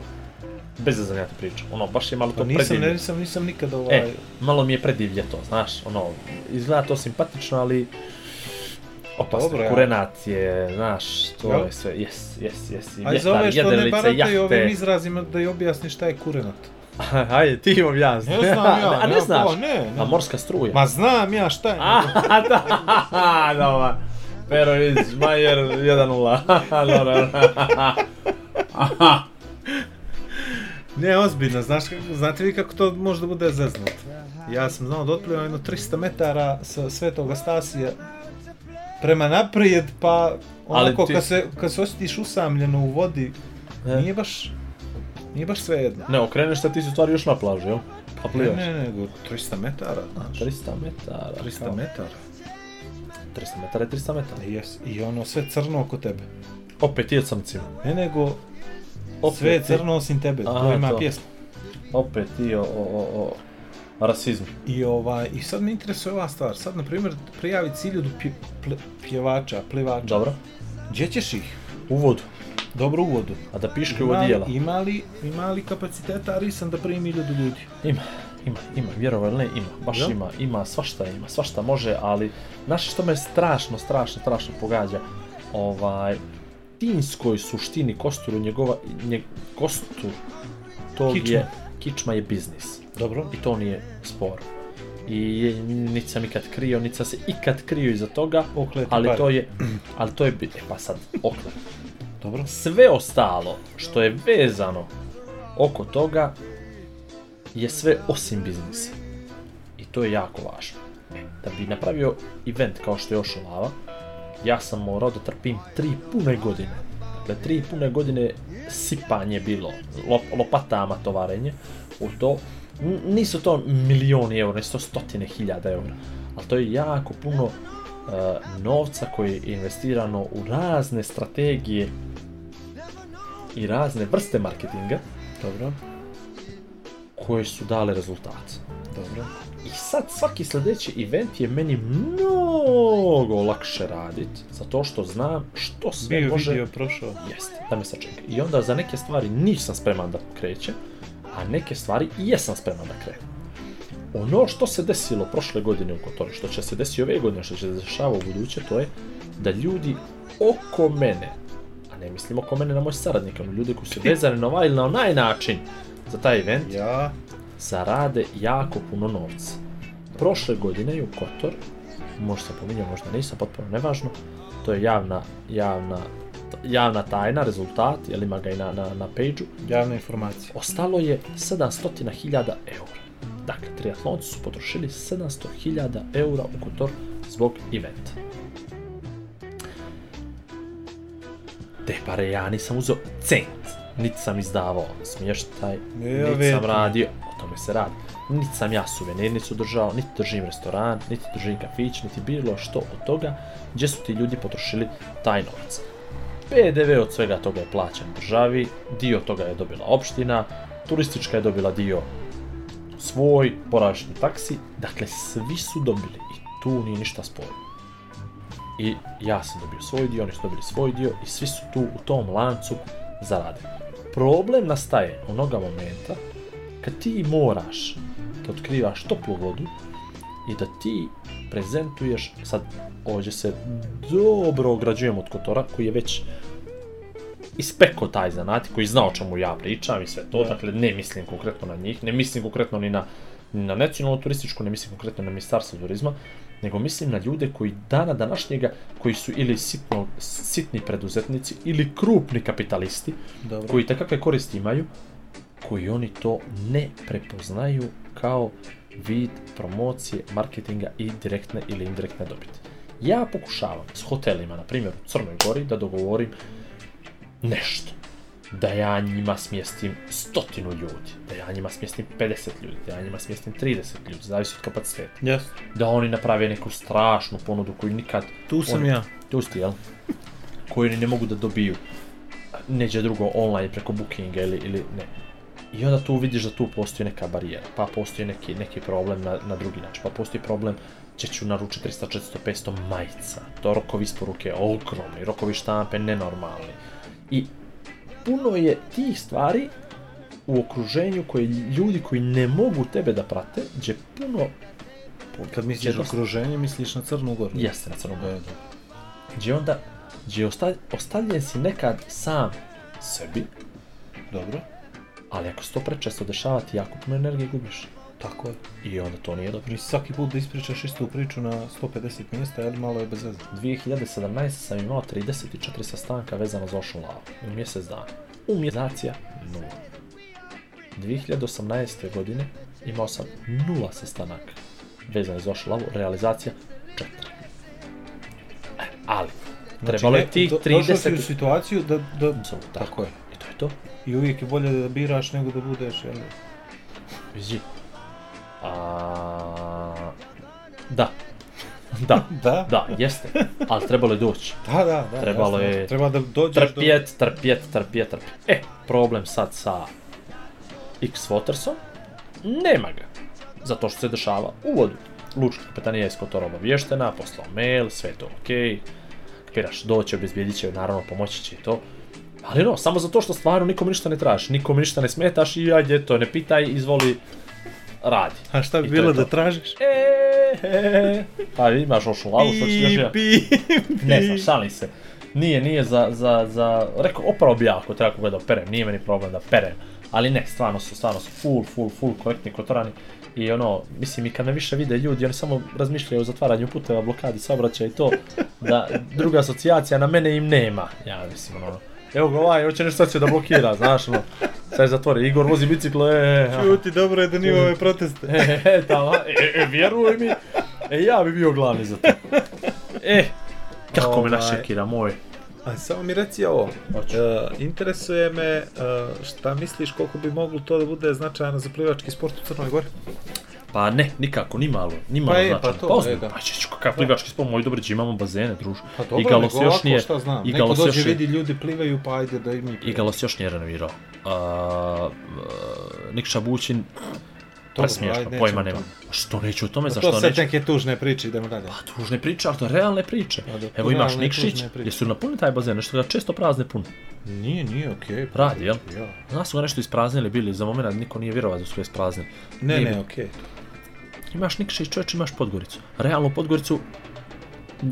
Speaker 4: Bez da ja ti pričam, ono, baš je malo to
Speaker 3: Pa nisam,
Speaker 4: predivno.
Speaker 3: ne, nisam, nisam nikad ovaj...
Speaker 4: E, malo mi je predivlje to, znaš, ono, izgleda to simpatično, ali opasno,
Speaker 3: Dobro, ja.
Speaker 4: Dobro, kurenat je, znaš, to
Speaker 3: Jel?
Speaker 4: je sve, jes, jes, jes, i
Speaker 3: A i za ove
Speaker 4: vjetar,
Speaker 3: što ne
Speaker 4: jedrilice,
Speaker 3: barataju ovim
Speaker 4: jahte.
Speaker 3: izrazima da je objasni šta je kurenat.
Speaker 4: Ajde, ti imam ja, a ne znaš,
Speaker 3: ne,
Speaker 4: a morska struja.
Speaker 3: Ma znam ja šta je.
Speaker 4: A, da, da, Pero iz Majer 1-0, dobro.
Speaker 3: Ne, ozbiljno, znaš kako, znate vi kako to može da bude zeznut. Ja sam znao da otplivam jedno 300 metara sa Svetog Astasija prema naprijed, pa
Speaker 4: Ali
Speaker 3: onako
Speaker 4: ti-
Speaker 3: kad, se, kad se osjetiš usamljeno u vodi,
Speaker 4: E.
Speaker 3: nije baš, nije baš sve jedno.
Speaker 4: Ne, okreneš se, ti si u stvari još na plaži, jel? Pa
Speaker 3: Ne,
Speaker 4: plivaš.
Speaker 3: ne, nego 300 metara, znaš.
Speaker 4: 300 metara,
Speaker 3: 300
Speaker 4: kao.
Speaker 3: metara.
Speaker 4: 300 metara je 300 metara.
Speaker 3: Jes, i ono sve crno oko tebe.
Speaker 4: Opet je crncima.
Speaker 3: Ne, nego
Speaker 4: Opet
Speaker 3: sve je
Speaker 4: ti-
Speaker 3: crno osim tebe, to
Speaker 4: Aha,
Speaker 3: ima
Speaker 4: to.
Speaker 3: pjesma.
Speaker 4: Opet i o, o, o, o rasizmu.
Speaker 3: I, ovaj, I sad me interesuje ova stvar, sad na primjer prijavi ciljudu pje, ple, pjevača, plivača,
Speaker 4: Dobro.
Speaker 3: Gdje ćeš ih?
Speaker 4: U vodu.
Speaker 3: Dobro u vodu.
Speaker 4: A da piškaju
Speaker 3: Ima,
Speaker 4: odijela.
Speaker 3: ima, li, ima li kapaciteta Arisan da primi iljudu ljudi?
Speaker 4: Ima, ima, ima, vjerovali ili ne, ima, baš
Speaker 3: Jel?
Speaker 4: ima, ima, svašta ima, svašta može, ali, znaš što me strašno, strašno, strašno pogađa, ovaj, suštinskoj suštini kosturu njegova, njeg, kostur tog
Speaker 3: Kičma.
Speaker 4: je, kičma je biznis.
Speaker 3: Dobro.
Speaker 4: I to nije spor. I je- niti sam ikad krio, niti sam se ikad krio iza toga,
Speaker 3: Oklepa
Speaker 4: ali
Speaker 3: pare.
Speaker 4: to je, ali to je, bi- e pa sad, oklep.
Speaker 3: Dobro.
Speaker 4: Sve ostalo što je vezano oko toga je sve osim biznisa. I to je jako važno. E, Da bi napravio event kao što je Ošo Lava, ja sam morao da trpim tri pune godine. Dakle, tri pune godine sipanje bilo, lop, lopatama tovarenje u to. N- Nisu to milioni eura, nisu to stotine hiljada eura, ali to je jako puno e, novca koje je investirano u razne strategije i razne vrste marketinga
Speaker 3: Dobro.
Speaker 4: koje su dale rezultat.
Speaker 3: Dobro.
Speaker 4: I sad svaki sljedeći event je meni mnogo lakše radit, zato što znam što sve
Speaker 3: Bio
Speaker 4: može...
Speaker 3: video prošao.
Speaker 4: Jeste, da me sačeka. I onda za neke stvari nisam spreman da krećem, a neke stvari i jesam spreman da krenem. Ono što se desilo prošle godine u Kotoru, što će se desiti ove godine, što će se dešava u buduće, to je da ljudi oko mene, a ne mislim oko mene na moje saradnike, ono ljudi koji su vezani na ovaj ili na onaj način za taj event,
Speaker 3: Ja.
Speaker 4: zarade jako puno novca. Prošle godine je u Kotor, možda sam pominjao, možda nisam, potpuno nevažno, to je javna, javna, javna tajna, rezultat, jel ima ga i na, na, na page
Speaker 3: Javna informacija.
Speaker 4: ostalo je 700.000 eura. Dakle, triatlonci su potrošili 700.000 eura u Kotor zbog eventa. Te pare ja nisam uzeo cent, niti sam izdavao smještaj,
Speaker 3: Ne, ja
Speaker 4: niti
Speaker 3: vidim.
Speaker 4: sam radio, o tome se radi. Niti sam ja suvenirnicu držao, niti držim restoran, niti držim kafić, niti bilo što od toga gdje su ti ljudi potrošili taj novac. PDV od svega toga je plaćen državi, dio toga je dobila opština, turistička je dobila dio svoj, boravišni taksi, dakle svi su dobili i tu nije ništa sporno. I ja sam dobio svoj dio, oni su dobili svoj dio i svi su tu u tom lancu zaradili. Problem nastaje onoga momenta kad ti moraš da otkrivaš toplu vodu i da ti prezentuješ, sad ovdje se dobro ograđujem od Kotora koji je već ispekao taj zanat i koji zna o čemu ja pričam i sve to, dakle ne mislim konkretno na njih, ne mislim konkretno ni na, ni na nacionalnu turističku, ne mislim konkretno na ministarstvo turizma, nego mislim na ljude koji dana današnjega, koji su ili sitno, sitni preduzetnici ili krupni kapitalisti,
Speaker 3: Dobro.
Speaker 4: koji takakve koristi imaju, koji oni to ne prepoznaju kao vid promocije, marketinga i direktne ili indirektne dobiti. Ja pokušavam s hotelima, na primjer u Crnoj Gori, da dogovorim nešto. Da ja njima smjestim stotinu ljudi, da ja njima smjestim 50 ljudi, da ja njima smjestim 30 ljudi, zavisi od kapaciteta.
Speaker 3: Jes.
Speaker 4: Da oni naprave neku strašnu ponudu koju nikad
Speaker 3: Tu sam
Speaker 4: Oni-
Speaker 3: ja.
Speaker 4: tu ste, jel? Koji oni ne mogu da dobiju neđe drugo online preko bookinga ili, ili ne. I onda tu vidiš da tu postoji neka barijera, pa postoji neki, neki problem na, na drugi način, pa postoji problem će ću naručiti 300, 400, 500 majica, to rokovi isporuke ogromni, rokovi štampe nenormalni. I puno je tih stvari u okruženju koji ljudi koji ne mogu tebe da prate, gdje puno
Speaker 3: Kad misliš
Speaker 4: Jednost-
Speaker 3: okruženje, misliš na Crnu Goru.
Speaker 4: jeste na crnom
Speaker 3: Da, da.
Speaker 4: gdje onda gdje osta, ostavljen si nekad sam sebi,
Speaker 3: Dobro.
Speaker 4: ali ako se to prečesto dešava ti jako puno energije gubiš.
Speaker 3: Tako je.
Speaker 4: I onda to nije dobro.
Speaker 3: Pri svaki put da ispričaš istu priču na 150 mjesta, jel malo je bez veze.
Speaker 4: 2017 sam imao 34 sastanka vezano za Ocean Love u mjesec dana. Umjezacija nula. 2018. godine imao sam nula sastanaka vezano za Ocean Love, realizacija 4. Ali, trebalo je
Speaker 3: ne-
Speaker 4: tih
Speaker 3: Znači, e, do- Došao si u
Speaker 4: 30...
Speaker 3: situaciju da... da...
Speaker 4: Apsolutno,
Speaker 3: Tako je.
Speaker 4: I to je to.
Speaker 3: I uvijek je bolje da biraš nego da budeš, jel?
Speaker 4: Vidi. A... Da. Da,
Speaker 3: Da?
Speaker 4: da, jeste. Ali trebalo je doći.
Speaker 3: Da, da, da.
Speaker 4: Trebalo
Speaker 3: jasno.
Speaker 4: je-
Speaker 3: Treba da dođeš do...
Speaker 4: Trpjet, trpjet, trpjet, trpjet. E, problem sad sa X Watersom, nema ga. Zato što se dešava u vodu. Lučka kapetanija iz Kotora obavještena, poslao mail, sve je to okej. Kapiraš, doće, obezbijedit će, naravno pomoći će i to. Ali no, samo zato što stvarno nikom ništa ne tražiš, nikom ništa ne smetaš i ajde to, ne pitaj, izvoli, radi.
Speaker 3: A šta bi
Speaker 4: I to
Speaker 3: bilo
Speaker 4: je to.
Speaker 3: da tražiš?
Speaker 4: E, e, e. Pa imaš ošu lavu, što ćeš još ja.
Speaker 3: pi,
Speaker 4: Ne znam, šalim se. Nije, nije za, za, za, rekao, opravo bi ja ako treba koga da perem, nije meni problem da perem. Ali ne, stvarno su, stvarno su full, full, full korektni kotorani. I ono, mislim i kad me više vide ljudi, oni samo razmišljaju o zatvaranju puteva, blokadi saobraćaja i to, da druga asocijacija na mene im nema. Ja mislim, ono, evo ga ovaj, hoće nešto sad će da blokira, znaš, ono, sad zatvori, Igor vozi biciklo, e, e, aha.
Speaker 3: Čuti, dobro je da nije ove proteste.
Speaker 4: E, e, tamo, e, e, vjeruj mi, e, ja bi bio glavni za to. E, kako me
Speaker 3: Ovaj.
Speaker 4: našekira, moj.
Speaker 3: A samo mi reci ovo,
Speaker 4: Hoću.
Speaker 3: e, interesuje me e, šta misliš koliko bi moglo to da bude značajno za plivački sport u Crnoj Gori?
Speaker 4: Pa ne, nikako, ni malo, ni malo
Speaker 3: Pa je,
Speaker 4: značajno.
Speaker 3: pa to,
Speaker 4: pa ozbiljno,
Speaker 3: e, da.
Speaker 4: pa će, ću, kakav plivački sport, moj dobrić, imamo bazene, druž.
Speaker 3: Pa dobro,
Speaker 4: Igalo
Speaker 3: nego
Speaker 4: se još
Speaker 3: ovako,
Speaker 4: nije-
Speaker 3: šta znam,
Speaker 4: Igalo
Speaker 3: neko
Speaker 4: se
Speaker 3: dođe
Speaker 4: još je-
Speaker 3: vidi ljudi plivaju pa ajde da i mi plivamo.
Speaker 4: Igalo se još nije renovirao. A, e, Nikša Bućin, presmiješno,
Speaker 3: ajde,
Speaker 4: pojma
Speaker 3: nećemo
Speaker 4: nema. Što neću o tome,
Speaker 3: Pa
Speaker 4: zašto
Speaker 3: to sad
Speaker 4: neću?
Speaker 3: neke tužne priče, idemo dalje.
Speaker 4: Pa tužne priče, ali to je realne priče.
Speaker 3: Pa da,
Speaker 4: Evo imaš
Speaker 3: realne,
Speaker 4: Nikšić,
Speaker 3: tužne priče.
Speaker 4: jesu napuni taj bazen, nešto ga često prazne pun.
Speaker 3: Nije, nije, okej. Okay,
Speaker 4: Radi, jel? Nas su ga nešto ispraznili bili, za moment niko nije vjerovao da su ga ispraznili.
Speaker 3: Ne,
Speaker 4: Nije
Speaker 3: ne,
Speaker 4: bitno.
Speaker 3: okej.
Speaker 4: Imaš Nikšić, čovječ, imaš Podgoricu. Realno Podgoricu,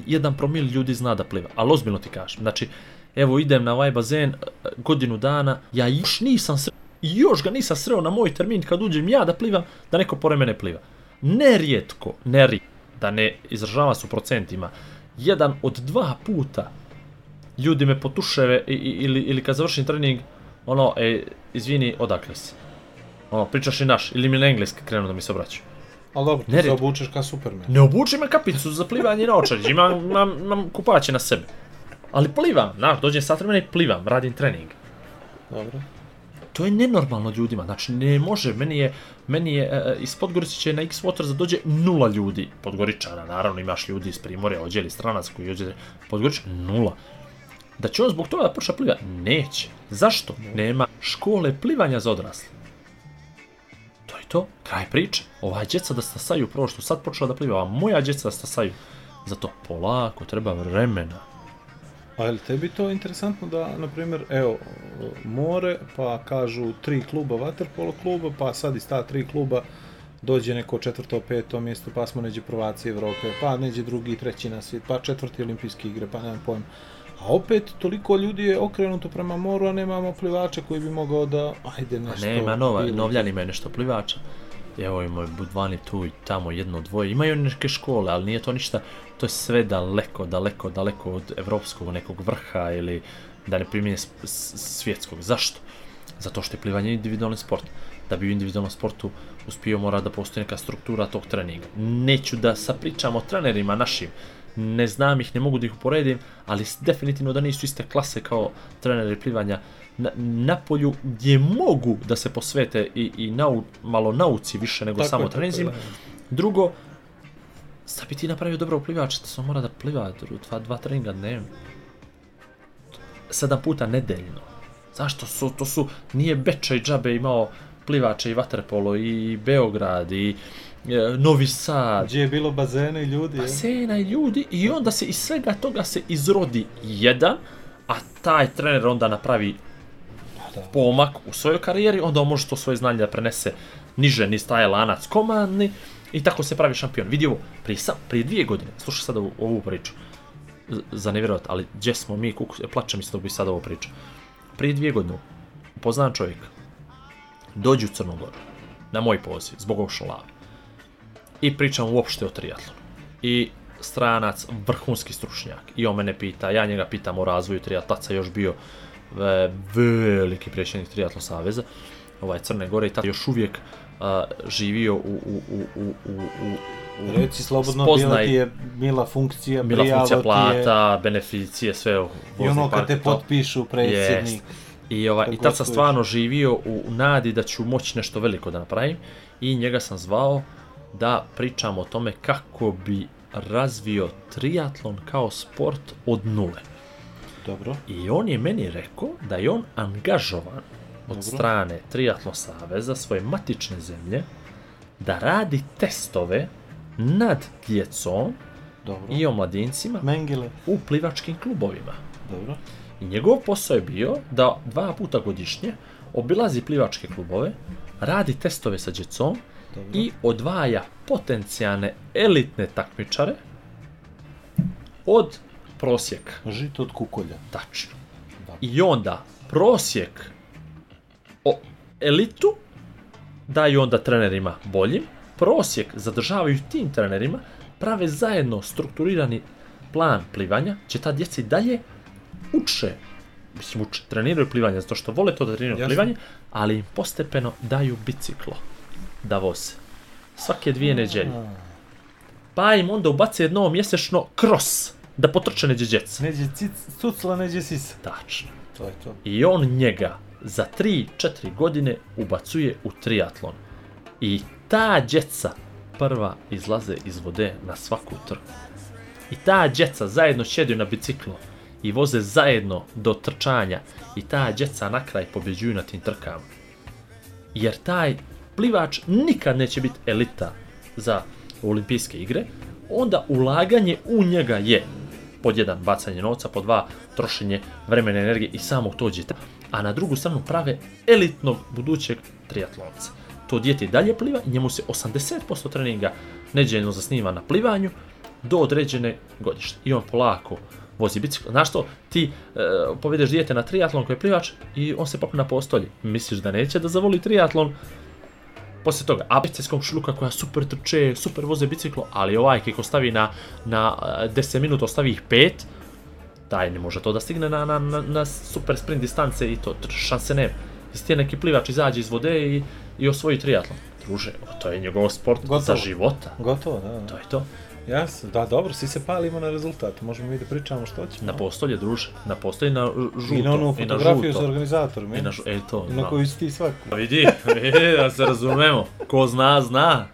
Speaker 4: jedan promil ljudi zna da pliva, ali ozbiljno ti kažem. Znači, evo idem na ovaj bazen e, godinu dana, ja još nisam sreo, još ga nisam sreo na moj termin kad uđem ja da plivam, da neko pored mene pliva. Nerijetko, nerijetko, da ne izražava su procentima, jedan od dva puta ljudi me potuševe i- i- ili, ili kad završim trening, ono, e, izvini, odakle si? Ono, pričaš i naš, ili mi na engleski krenu da mi se obraćaju.
Speaker 3: Ali dobro, ti se
Speaker 4: Nered.
Speaker 3: obučeš kao Superman.
Speaker 4: Ne obučem ja kapicu za plivanje na očarđe, imam, imam, imam kupaće na sebi. Ali plivam, znaš, dođem sat vremena i plivam, radim trening.
Speaker 3: Dobro.
Speaker 4: To je nenormalno ljudima, znači ne može, meni je, meni je e, iz Podgorice na X Water za dođe nula ljudi, Podgoričana, naravno imaš ljudi iz Primorja, ođe ili stranac koji ođe, Podgoričana nula. Da će on zbog toga da počne da pliva? Neće. Zašto? Nema škole plivanja za odrasle. To je to, kraj priče. Ova djeca da stasaju prvo što sad počela da pliva, a moja djeca da stasaju. Zato polako treba vremena.
Speaker 3: A je li tebi to interesantno da, na primjer, evo, more, pa kažu tri kluba vaterpolo kluba, pa sad iz ta tri kluba dođe neko četvrto, peto mjesto, pa smo neđe prvaci Evrope, pa neđe drugi, i treći na svijet, pa četvrti olimpijske igre, pa nemam pojma. A opet, toliko ljudi je okrenuto prema moru, a nemamo plivača koji bi mogao da, ajde,
Speaker 4: A
Speaker 3: nešto...
Speaker 4: Pa nema, nova,
Speaker 3: bilo.
Speaker 4: novljani imaju nešto plivača. Evo imaju Budvani tu i tamo jedno dvoje. Imaju oni neke škole, ali nije to ništa, to je sve daleko, daleko, daleko od evropskog nekog vrha ili da ne primjenje s- s- svjetskog. Zašto? Zato što je plivanje individualni sport. Da bi u individualnom sportu uspio mora da postoji neka struktura tog treninga. Neću da sapričam o trenerima našim, ne znam ih, ne mogu da ih uporedim, ali s- definitivno da nisu iste klase kao treneri plivanja na, na polju gdje mogu da se posvete i, i nau, malo nauci više nego
Speaker 3: Tako je,
Speaker 4: samo
Speaker 3: tako je,
Speaker 4: treninzima.
Speaker 3: da.
Speaker 4: Drugo, sad bi ti napravio dobro plivač, to samo mora da pliva dru- dva, dva treninga dnevno. Sedam puta nedeljno. Zašto su, to su, nije Beča i Džabe imao plivače i vaterpolo i Beograd i e, Novi Sad
Speaker 3: Gdje je bilo bazene i ljudi, jel?
Speaker 4: basena i ljudi i onda se iz svega toga se izrodi jedan, a taj trener onda napravi
Speaker 3: da.
Speaker 4: pomak u svojoj karijeri, onda on može to svoje znanje da prenese niže niz taj lanac komandni i tako se pravi šampion. Vidi ovo, prije, sam, prije dvije godine, slušaj sad ovu, ovu priču, Z- za nevjerovat, ali gdje smo mi, kuku, plače mi se dok bi sad ovo pričao. Prije dvije godine, poznam čovjeka, dođu u Crnu Goru, na moj poziv, zbog ovog šolava. I pričam uopšte o triatlonu. I stranac, vrhunski stručnjak. I on mene pita, ja njega pitam o razvoju triatlaca, još bio e, veliki predsjednik triatlon saveza, ovaj Crne Gore i tad još uvijek a, živio u, u, u, u, u, u, u
Speaker 3: Reci slobodno, bila
Speaker 4: spoznaj-
Speaker 3: ti je mila funkcija,
Speaker 4: bila funkcija
Speaker 3: prijava ti je-
Speaker 4: plata, beneficije, sve u
Speaker 3: I ono kad te
Speaker 4: i to.
Speaker 3: potpišu predsjednik.
Speaker 4: Jest. I, ovaj, I
Speaker 3: Kad
Speaker 4: tad sam
Speaker 3: gostuješ.
Speaker 4: stvarno živio u, u nadi da ću moći nešto veliko da napravim i njega sam zvao da pričam o tome kako bi razvio triatlon kao sport od nule.
Speaker 3: Dobro.
Speaker 4: I on je meni rekao da je on angažovan od
Speaker 3: Dobro.
Speaker 4: strane Triatlon Saveza, svoje matične zemlje, da radi testove nad djecom
Speaker 3: Dobro.
Speaker 4: i o mladincima
Speaker 3: Mengele.
Speaker 4: u plivačkim klubovima.
Speaker 3: Dobro.
Speaker 4: I njegov posao je bio da dva puta godišnje obilazi plivačke klubove, radi testove sa djecom
Speaker 3: Dobro.
Speaker 4: i odvaja potencijalne elitne takmičare od prosjek.
Speaker 1: Žito od kukolja.
Speaker 4: Tačno. I onda prosjek o elitu daju onda trenerima boljim, prosjek zadržavaju tim trenerima, prave zajedno strukturirani plan plivanja, će ta djeca i dalje uče, mislim uče, treniraju plivanje, zato što vole to da treniraju
Speaker 3: Jasno.
Speaker 4: plivanje, ali im postepeno daju biciklo da voze. Svake dvije neđelje. Pa im onda ubace jedno mjesečno kros da potrče neđe djeca.
Speaker 1: Neđe cic, cucla, neđe sisa.
Speaker 4: Tačno.
Speaker 1: To je to.
Speaker 4: I on njega za 3-4 godine ubacuje u triatlon. I ta djeca prva izlaze iz vode na svaku trku. I ta djeca zajedno sjedaju na biciklu i voze zajedno do trčanja i ta djeca na kraj pobjeđuju na tim trkama. Jer taj plivač nikad neće biti elita za olimpijske igre, onda ulaganje u njega je pod jedan bacanje novca, pod dva trošenje vremena, energije i samog to djeta, a na drugu stranu prave elitnog budućeg triatlonca. To dijete i dalje pliva i njemu se 80% treninga neđeljno zasniva na plivanju do određene godište. I on polako vozi bicikl. Znaš što, ti e, povedeš dijete na triatlon koji je plivač i on se popne na postolje. Misliš da neće da zavoli triatlon, Poslije toga, ABC s komšiluka koja super trče, super voze biciklo, ali ovaj kako stavi na, na e, 10 minuta, ostavi ih 5, taj ne može to da stigne na, na, na, na super sprint distance i to, tr- šanse nema. Isti je neki plivač izađe iz vode i, i osvoji triatlon. Druže, to je njegov sport
Speaker 1: Gotovo.
Speaker 4: za života.
Speaker 1: Gotovo, da. da.
Speaker 4: To je to.
Speaker 1: Jasno, da, dobro, svi se palimo na rezultat, možemo mi da pričamo što ćemo.
Speaker 4: Na postolje, druže. Na postolje na žuto.
Speaker 1: I na onu
Speaker 4: i na
Speaker 1: fotografiju
Speaker 4: žuto,
Speaker 1: sa organizatorom,
Speaker 4: I
Speaker 1: je?
Speaker 4: na, žu, e, to,
Speaker 1: na
Speaker 4: da.
Speaker 1: koju si ti svaku.
Speaker 4: Pa vidi, vidi, da se razumemo. Ko zna, zna.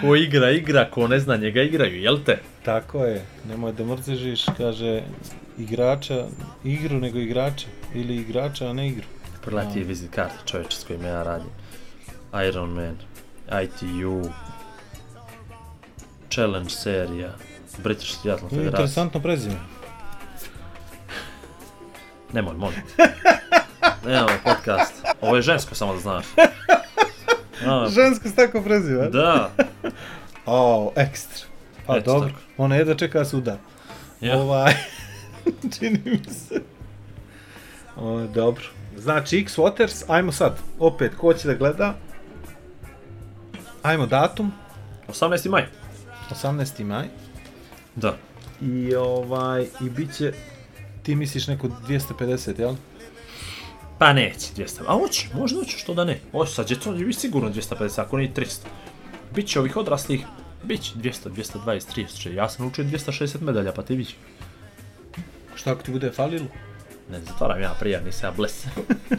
Speaker 4: Ko igra, igra. Ko ne zna, njega igraju, jel te?
Speaker 1: Tako je, nemoj da mrzežiš, kaže, igrača, igru nego igrača, ili igrača, a ne igru.
Speaker 4: Pogledaj ti vizit karte čovječe s kojima ja radim. Iron Man, ITU, Challenge serija, British Triathlon
Speaker 1: To je
Speaker 4: Federacija.
Speaker 1: interesantno prezime.
Speaker 4: Nemoj, molim. Nemoj podcast. Ovo je žensko, samo da znaš. A,
Speaker 1: Žensko se tako preziva?
Speaker 4: Pa. da.
Speaker 1: O, ekstra. Pa
Speaker 4: Ekstra.
Speaker 1: dobro, ona je da čeka suda.
Speaker 4: Ja.
Speaker 1: Ovaj, čini mi se.
Speaker 3: O, dobro. Znači, X Waters, ajmo sad, opet, ko će da gleda? Ajmo datum,
Speaker 4: 18. maj.
Speaker 3: 18. maj.
Speaker 4: Da.
Speaker 3: I ovaj, i bit će,
Speaker 1: Ti misliš neku 250, jel?
Speaker 4: Pa neće 200. A hoće, možda hoće, što da ne. Hoće sad djecom će biti sigurno 250, ako ne i 300. Biće ovih odraslih, biće 200, 220, 300. Ja sam naučio 260 medalja, pa ti vidiš.
Speaker 1: Šta ako ti bude falilo?
Speaker 4: Ne zatvaram ja prija, nisam ja blesa.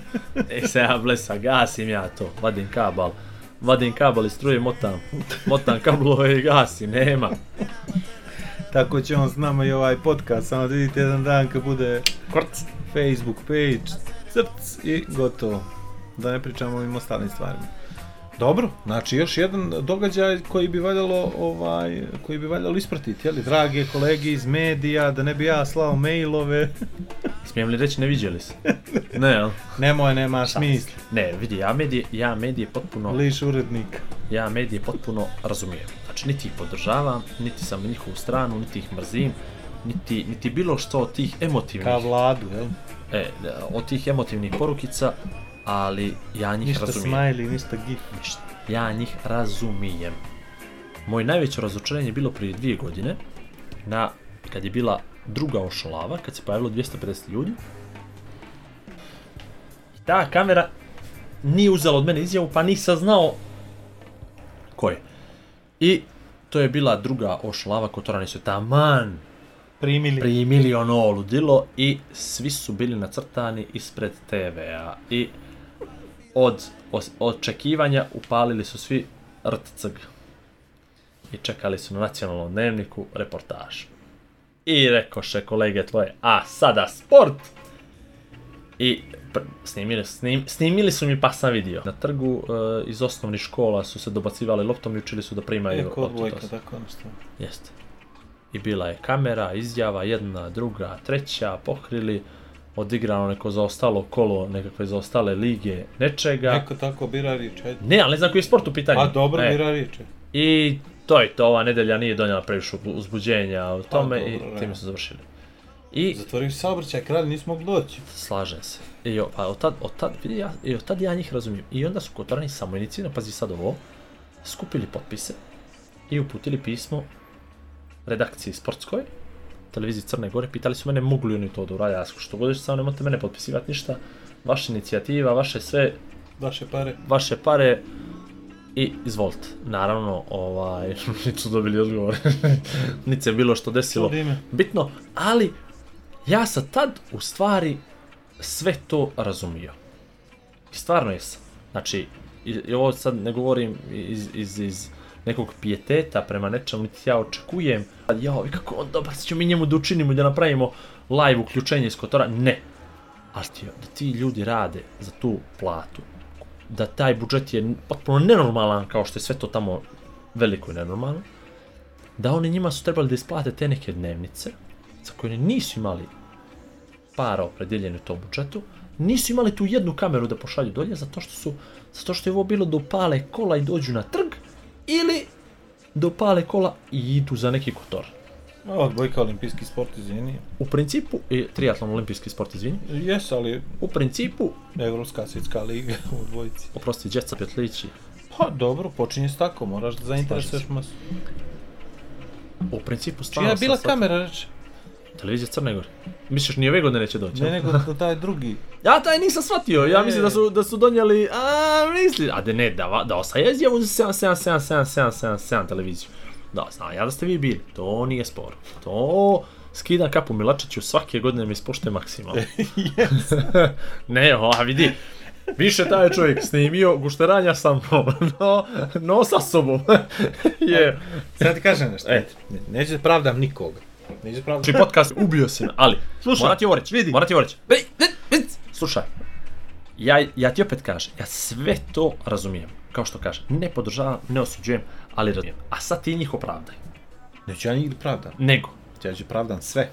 Speaker 4: nisam ja blesa, gasim ja to, vadim kabal. Vadim kabal i struje motam, motam kablove i gasim, nema.
Speaker 1: Tako će on s nama i ovaj podcast, samo da vidite jedan dan kad bude
Speaker 4: Kvrc.
Speaker 1: Facebook page, crc i gotovo. Da ne pričamo o ovim ostalim stvarima.
Speaker 3: dobro, znači još jedan događaj koji bi valjalo, ovaj, koji bi valjalo ispratiti, jeli, drage kolege iz medija, da ne bi ja slao mailove,
Speaker 4: Smijem li reći, ne viđeli se? ne, jel?
Speaker 1: Nemoj, nema smisla.
Speaker 4: Ne, vidi, ja medije, ja medije potpuno...
Speaker 1: Liš urednika.
Speaker 4: ja medije potpuno razumijem. Znači, niti ih podržavam, niti sam na njihovu stranu, niti ih mrzim, niti, niti bilo što od tih emotivnih,
Speaker 1: Ka vladu, jel?
Speaker 4: e, od tih emotivnih porukica, ali ja njih
Speaker 1: Ništa
Speaker 4: razumijem.
Speaker 1: smajli, ništa gif.
Speaker 4: Ništa. Ja njih razumijem. Moje najveće razočarenje je bilo prije dvije godine, na, kad je bila druga ošolava, kad se pojavilo 250 ljudi. I ta kamera nije uzela od mene izjavu, pa nisam znao ko je. I to je bila druga ošolava Kotorani su taman
Speaker 1: Primili.
Speaker 4: primili ono ludilo i svi su bili nacrtani ispred TV-a i od os- očekivanja upalili su svi rtcg i čekali su na nacionalnom dnevniku reportaž. I rekoše kolege tvoje, a sada sport! I pr- snimili, snim, snimili su mi pa sam vidio. Na trgu e, iz osnovnih škola su se dobacivali loptom i učili su da
Speaker 3: E,
Speaker 4: primaju
Speaker 1: Neko odvojka,
Speaker 4: otutos.
Speaker 1: tako nešto.
Speaker 4: Jeste. I bila je kamera, izjava, jedna, druga, treća, pokrili, odigrano neko zaostalo kolo, nekakve zaostale lige, nečega.
Speaker 1: Neko tako bira riječ, ajde.
Speaker 4: Ne, ali ne znam koji je sport u pitanju.
Speaker 1: A dobro
Speaker 4: E,
Speaker 1: bira riječ. ajde.
Speaker 4: I to je to, ova nedelja nije donijela previše uzbuđenja o tome i
Speaker 1: Pa, dobro, ne.
Speaker 4: time su završili. I
Speaker 1: Zatvorili su saobraćaj, kralj nisu mogli doći.
Speaker 4: slažem se. I o, pa od tad, od tad, vidi ja, i od tad ja njih razumijem. I onda su kotarani samoinicijivno, pazi sad ovo, skupili potpise i uputili pismo redakciji sportskoj, televiziji Crne Gore, pitali su mene mogu li oni to da urade, ja sam, što god što samo nemojte mene potpisivati ništa, vaša inicijativa, vaše sve,
Speaker 1: Vaše pare.
Speaker 4: vaše pare i izvolite. Naravno, ovaj, nisu dobili odgovor, niti se bilo što desilo
Speaker 1: Čudi ime.
Speaker 4: bitno, ali ja sam tad u stvari sve to razumio. I stvarno jesam. Znači, i, i ovo sad ne govorim iz, iz, iz nekog pijeteta prema nečemu, niti ja očekujem, a jao, i kako on dobar, sad ćemo mi njemu da učinimo i da napravimo live uključenje iz Kotora. Ne. Ali ti, da ti ljudi rade za tu platu, da taj budžet je potpuno nenormalan, kao što je sve to tamo veliko i nenormalno, da oni njima su trebali da isplate te neke dnevnice, za koje oni nisu imali para opredeljene u tom budžetu, nisu imali tu jednu kameru da pošalju dolje, zato što su, zato što je ovo bilo da upale kola i dođu na trg, ili da upale kola i idu za neki kotor.
Speaker 1: Ma, odbojka olimpijski sport, izvini.
Speaker 4: U principu, i triatlon olimpijski sport, izvini,
Speaker 1: Jes, ali
Speaker 4: u principu,
Speaker 1: Evropska svjetska liga u odbojici.
Speaker 4: oprosti, djeca petlići,
Speaker 1: Pa dobro, počinje s tako, moraš da zainteresuješ masu.
Speaker 4: u principu stvarno
Speaker 1: Čija je bila
Speaker 4: sad-
Speaker 1: kamera, reče?
Speaker 4: Televizija Crne Gore. Misliš, ni ove godine neće doći?
Speaker 1: Ne,
Speaker 4: a?
Speaker 1: nego da taj drugi.
Speaker 4: Ja taj nisam shvatio, ja
Speaker 1: E.
Speaker 4: mislim da su, da su donijeli, a misli, a da ne, da, va- da ostaje izjavu za 7777777 televiziju. Da, znam ja da ste vi bili, to nije spor. To skida kapu Milačiću svake godine mi ispoštuje maksimalno. ne, o, a vidi, Više taj čovjek snimio gušteranja sa mnom, no, no sa sobom. Je,
Speaker 3: Sad ti kažem nešto.
Speaker 4: E.
Speaker 3: Ne, neću da pravdam nikoga. Neću da pravdam...
Speaker 4: Znači podcast ubio si me, ali slušaj, moram ti ovo reći, vidi, moram ti ovo reći, vidi, vidi, vidi, slušaj, ja, ja ti opet kažem, ja sve to razumijem, kao što kažem, ne podržavam, ne osuđujem, ali razumijem, a sad ti njih opravdaj,
Speaker 3: Neću ja njih da pravdam.
Speaker 4: nego,
Speaker 3: Ja ću pravdam sve.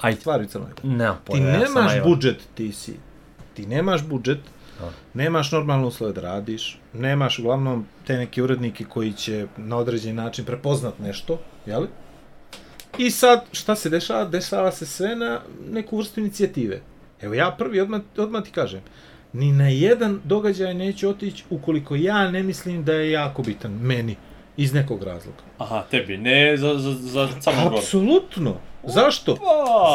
Speaker 4: ajde,
Speaker 3: Stvari u crnoj.
Speaker 4: nemam
Speaker 3: Ti
Speaker 4: pojma, ja sam
Speaker 3: nemaš
Speaker 4: naivan.
Speaker 3: budžet, ti si. Ti nemaš budžet,
Speaker 4: Da.
Speaker 3: nemaš normalne uslove da radiš, nemaš uglavnom te neke urednike koji će na određeni način prepoznat nešto, jeli? I sad, šta se dešava? Dešava se sve na neku vrstu inicijative. Evo ja prvi, odmah, odmah ti kažem, ni na jedan događaj neću otići ukoliko ja ne mislim da je jako bitan, meni, iz nekog razloga.
Speaker 4: Aha, tebi, ne za, za, za samo
Speaker 3: Apsolutno. Zašto?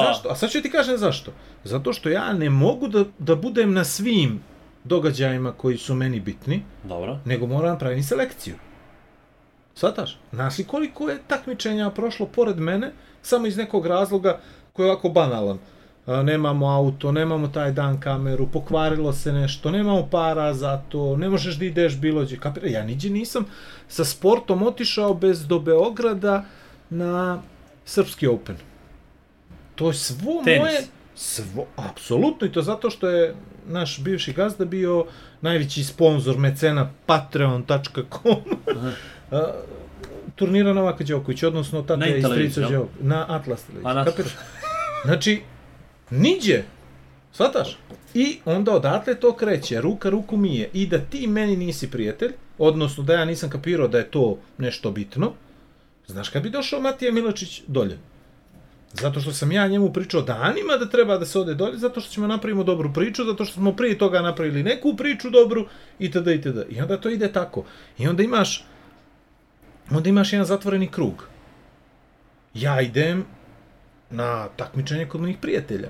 Speaker 3: Zašto? A sad ću ti kažem zašto. Zato što ja ne mogu da, da budem na svim događajima koji su meni bitni,
Speaker 4: Dobro.
Speaker 3: nego moram napraviti selekciju. Svataš? Znaš li koliko je takmičenja prošlo pored mene, samo iz nekog razloga koji je ovako banalan. A, Nemamo auto, nemamo taj dan kameru, pokvarilo se nešto, nemamo para za to, ne možeš da ideš bilo gdje. Kapira, ja niđe nisam sa sportom otišao bez do Beograda na Srpski Open. To je svo
Speaker 4: Tenis.
Speaker 3: moje... Svo, apsolutno i to zato što je naš bivši gazda bio najveći sponsor mecena patreon.com A, turnira Novaka Đoković, odnosno
Speaker 4: Na
Speaker 3: tate i strica
Speaker 4: Intellivision, jel?
Speaker 3: Đoković. Na Atlas
Speaker 4: A,
Speaker 3: televiziji.
Speaker 4: na-
Speaker 3: Kapiraš? Znači, niđe. Svataš? I onda odatle to kreće, ruka ruku mije. I da ti meni nisi prijatelj, odnosno da ja nisam kapirao da je to nešto bitno, znaš kad bi došao Matija Miločić dolje? Zato što sam ja njemu pričao danima da treba da se ode dolje, zato što ćemo napravimo dobru priču, zato što smo prije toga napravili neku priču dobru, itd. itd. I onda to ide tako. I onda imaš, onda imaš jedan zatvoreni krug. Ja idem na takmičenje kod mojih prijatelja,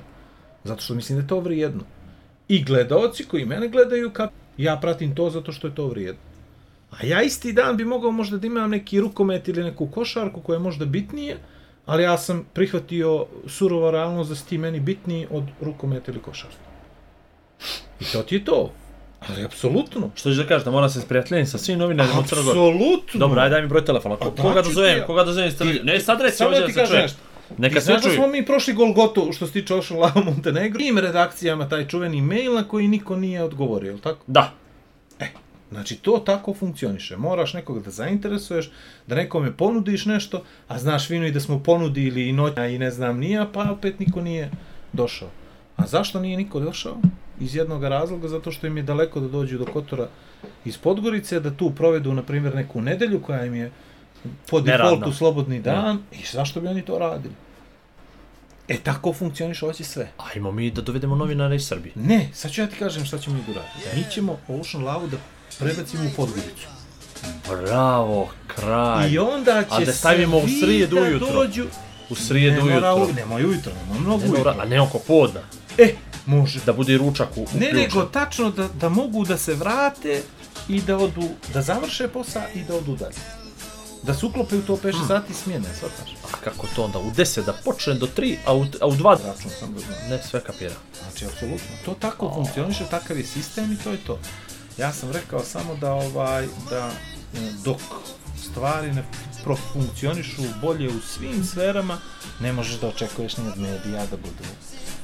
Speaker 3: zato što mislim da je to vrijedno. I gledaoci koji mene gledaju, kap... ja pratim to zato što je to vrijedno. A ja isti dan bi mogao možda da imam neki rukomet ili neku košarku koja je možda bitnije, ali ja sam prihvatio surova realnost da si ti meni bitniji od rukometa ili košarke. I to ti je to. Ali apsolutno.
Speaker 4: Što ćeš da kažeš, da moram se sprijateljiti sa svim novinarima u Crnoj Gori?
Speaker 3: Apsolutno.
Speaker 4: Dobro, ajde daj mi broj telefona, Ko,
Speaker 3: Pa
Speaker 4: koga da
Speaker 3: daću ti
Speaker 4: zovem,
Speaker 3: ja.
Speaker 4: koga da zovem iz televizije, ne sad reci
Speaker 3: Samo
Speaker 4: ovdje
Speaker 3: da
Speaker 4: da
Speaker 3: ti
Speaker 4: se
Speaker 3: kažem
Speaker 4: čuje.
Speaker 3: nešto.
Speaker 4: Neka
Speaker 3: I
Speaker 4: se
Speaker 3: znaš da
Speaker 4: čuje.
Speaker 3: smo mi prošli Golgotu što se tiče Ocean Lava Montenegro? Tim redakcijama taj čuveni mail na koji niko nije odgovorio, jel tako?
Speaker 4: Da,
Speaker 3: Znači, to tako funkcioniše. Moraš nekog da zainteresuješ, da nekome ponudiš nešto, a znaš vino i da smo ponudili i noćna i ne znam nija, pa opet niko nije došao. A zašto nije niko došao? Iz jednog razloga, zato što im je daleko da dođu do Kotora iz Podgorice, da tu provedu, na primjer, neku nedelju koja im je po
Speaker 4: Neradna.
Speaker 3: defaultu slobodni dan. I zašto bi oni to radili? E tako funkcioniš hoće sve.
Speaker 4: Ajmo mi da dovedemo novinara iz Srbije.
Speaker 3: Ne, sad ću ja ti kažem šta ćemo mi da uraditi. Mi ćemo Ocean Lavu da prebacimo u Podgoricu.
Speaker 4: Bravo, kraj.
Speaker 3: I onda će
Speaker 4: A da stavimo u
Speaker 3: svi
Speaker 4: srijedu
Speaker 3: da
Speaker 4: ujutro.
Speaker 3: Dođu...
Speaker 4: U srijedu
Speaker 3: ne, mora
Speaker 4: ujutro. E,
Speaker 3: u- Nemoj ujutro, nemoj mnogo
Speaker 4: Ne, dobra,
Speaker 3: ujutro.
Speaker 4: a ne oko podna.
Speaker 3: E, može.
Speaker 4: Da bude i ručak u,
Speaker 3: Ne,
Speaker 4: uključen.
Speaker 3: nego tačno da, da mogu da se vrate i da odu, da završe posao i da odu dalje. Da se uklope u to 5
Speaker 4: Hmm.
Speaker 3: sati smjene, svataš.
Speaker 4: A kako to onda? U 10 da počne do 3, a u, a u 2 da...
Speaker 3: Račun sam da znam.
Speaker 4: Ne, sve kapira.
Speaker 3: Znači, apsolutno. To tako funkcioniše, takav je sistem i to je to. Ja sam rekao samo da ovaj, da e, dok stvari ne profunkcionišu bolje u svim sferama, ne možeš da očekuješ ni od medija da budu.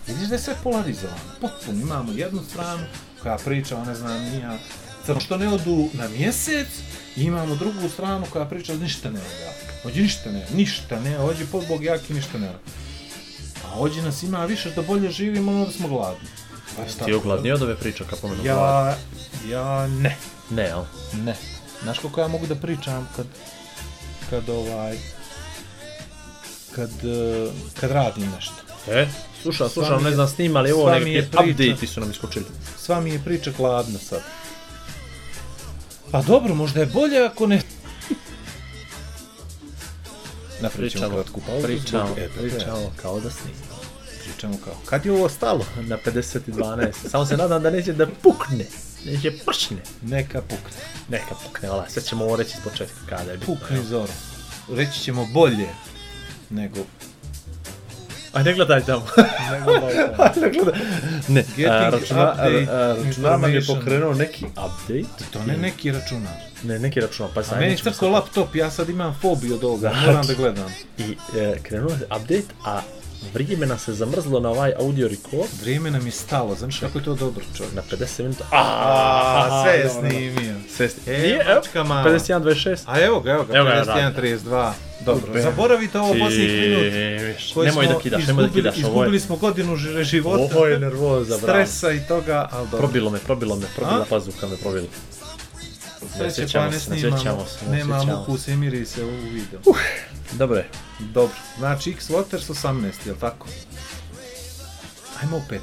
Speaker 3: Vidiš da je sve polarizovano, potpuno. Imamo jednu stranu koja priča, o ne znam, nija, crno što ne odu na mjesec, i imamo drugu stranu koja priča ništa ne odu. Ođi ništa ne, ništa ne, ođi podbog jaki ništa ne. A ođi Pa nas ima više da bolje živimo, ono da smo gladni. Pa šta?
Speaker 4: Ti je ogladnio od ove priče kad pomenu glad?
Speaker 3: Ja, ja ne.
Speaker 4: Ne, al?
Speaker 3: Ne. Znaš koliko ja mogu da pričam kad, kad ovaj, kad, eh, kad radim nešto.
Speaker 4: E,
Speaker 3: Sva
Speaker 4: slušam,
Speaker 3: mi
Speaker 4: slušam,
Speaker 3: je-
Speaker 4: ne znam snima li ovo,
Speaker 3: sva mi
Speaker 4: neki
Speaker 3: je priča.
Speaker 4: update su nam iskočili.
Speaker 3: Sva mi je priča hladna sad. Pa dobro, možda je bolje ako ne... Napričamo kratku pauzu. E,
Speaker 4: pričamo,
Speaker 3: zbog EPP-a.
Speaker 4: pričamo kao da snima.
Speaker 3: Pričamo kao. Kad je ovo stalo?
Speaker 4: Na 50.12. Samo se nadam da neće da pukne. Neće pršne.
Speaker 3: Neka pukne.
Speaker 4: Neka pukne, ala, sve ćemo ovo reći iz početka kada je bitno.
Speaker 3: Pukni zoro. Reći ćemo bolje nego...
Speaker 4: Aj, ne gledaj tamo.
Speaker 3: nego da
Speaker 4: ne gledaj. Ne, a,
Speaker 3: Getting
Speaker 4: računa,
Speaker 3: update
Speaker 4: a, a, računar nam je
Speaker 3: information.
Speaker 4: pokrenuo neki update.
Speaker 3: to ne neki računar.
Speaker 4: Ne, neki računar, pa
Speaker 3: A
Speaker 4: sad
Speaker 3: meni
Speaker 4: nećemo
Speaker 3: crko
Speaker 4: sad-
Speaker 3: laptop, ja sad imam fobiju od ovoga,
Speaker 4: Znači.
Speaker 3: moram da gledam.
Speaker 4: I e, krenuo je update, a vrijeme nas se zamrzlo na ovaj audio record
Speaker 3: Vrijeme nam je stalo, znaš kako je to dobro čovjek.
Speaker 4: na 50 minuta. A,
Speaker 3: A, sve je
Speaker 4: dobro,
Speaker 3: snimio.
Speaker 4: Sve ste.
Speaker 3: E,
Speaker 4: Nije, evo,
Speaker 3: mačka mala.
Speaker 4: 51-26.
Speaker 3: A evo ga, evo ga,
Speaker 4: Evo ga, da.
Speaker 3: 51.32. Dobro, zaboravite ovo posljednjih minut. koje
Speaker 4: Nemoj
Speaker 3: smo
Speaker 4: da kidaš, nemoj da
Speaker 3: izgubili-
Speaker 4: kidaš. Ovo
Speaker 3: Izgubili
Speaker 4: je,
Speaker 3: smo godinu ži- života,
Speaker 4: ovo je nervoza, bravo.
Speaker 3: stresa i toga, ali dobro.
Speaker 4: Probilo me, probilo me, probila
Speaker 3: A?
Speaker 4: pazuka me, probilo. Ne
Speaker 3: Sreće
Speaker 4: sjećamo
Speaker 3: pa ne
Speaker 4: se, ne
Speaker 3: snimamo,
Speaker 4: sjećamo se, ne
Speaker 3: nema
Speaker 4: sjećamo
Speaker 3: ukusa i mirise u videu.
Speaker 4: Dobro je.
Speaker 3: Dobro, znači X Waters 18, jel tako? Ajmo opet.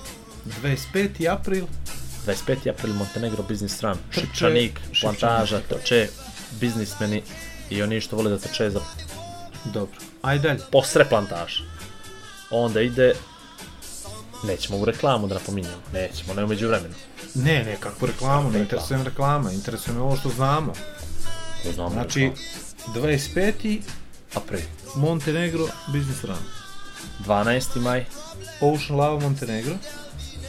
Speaker 3: 25. april,
Speaker 4: 25. april Montenegro biznis stran.
Speaker 3: Trče,
Speaker 4: Šipčanik,
Speaker 3: Šipčanik.
Speaker 4: plantaža, trče, biznismeni i oni što vole da trče za
Speaker 3: dobro. Aj dalje.
Speaker 4: posre plantaž. Onda ide Nećemo u reklamu da napominjamo, nećemo, ne umeđu vremenu.
Speaker 3: Ne, ne, kakvu reklamu, ne interesuje me reklama, interesuje me ovo što znamo.
Speaker 4: Ne znamo
Speaker 3: Znači, 25.
Speaker 4: april.
Speaker 3: Montenegro, Business Run.
Speaker 4: 12. maj,
Speaker 3: Ocean Lava Montenegro,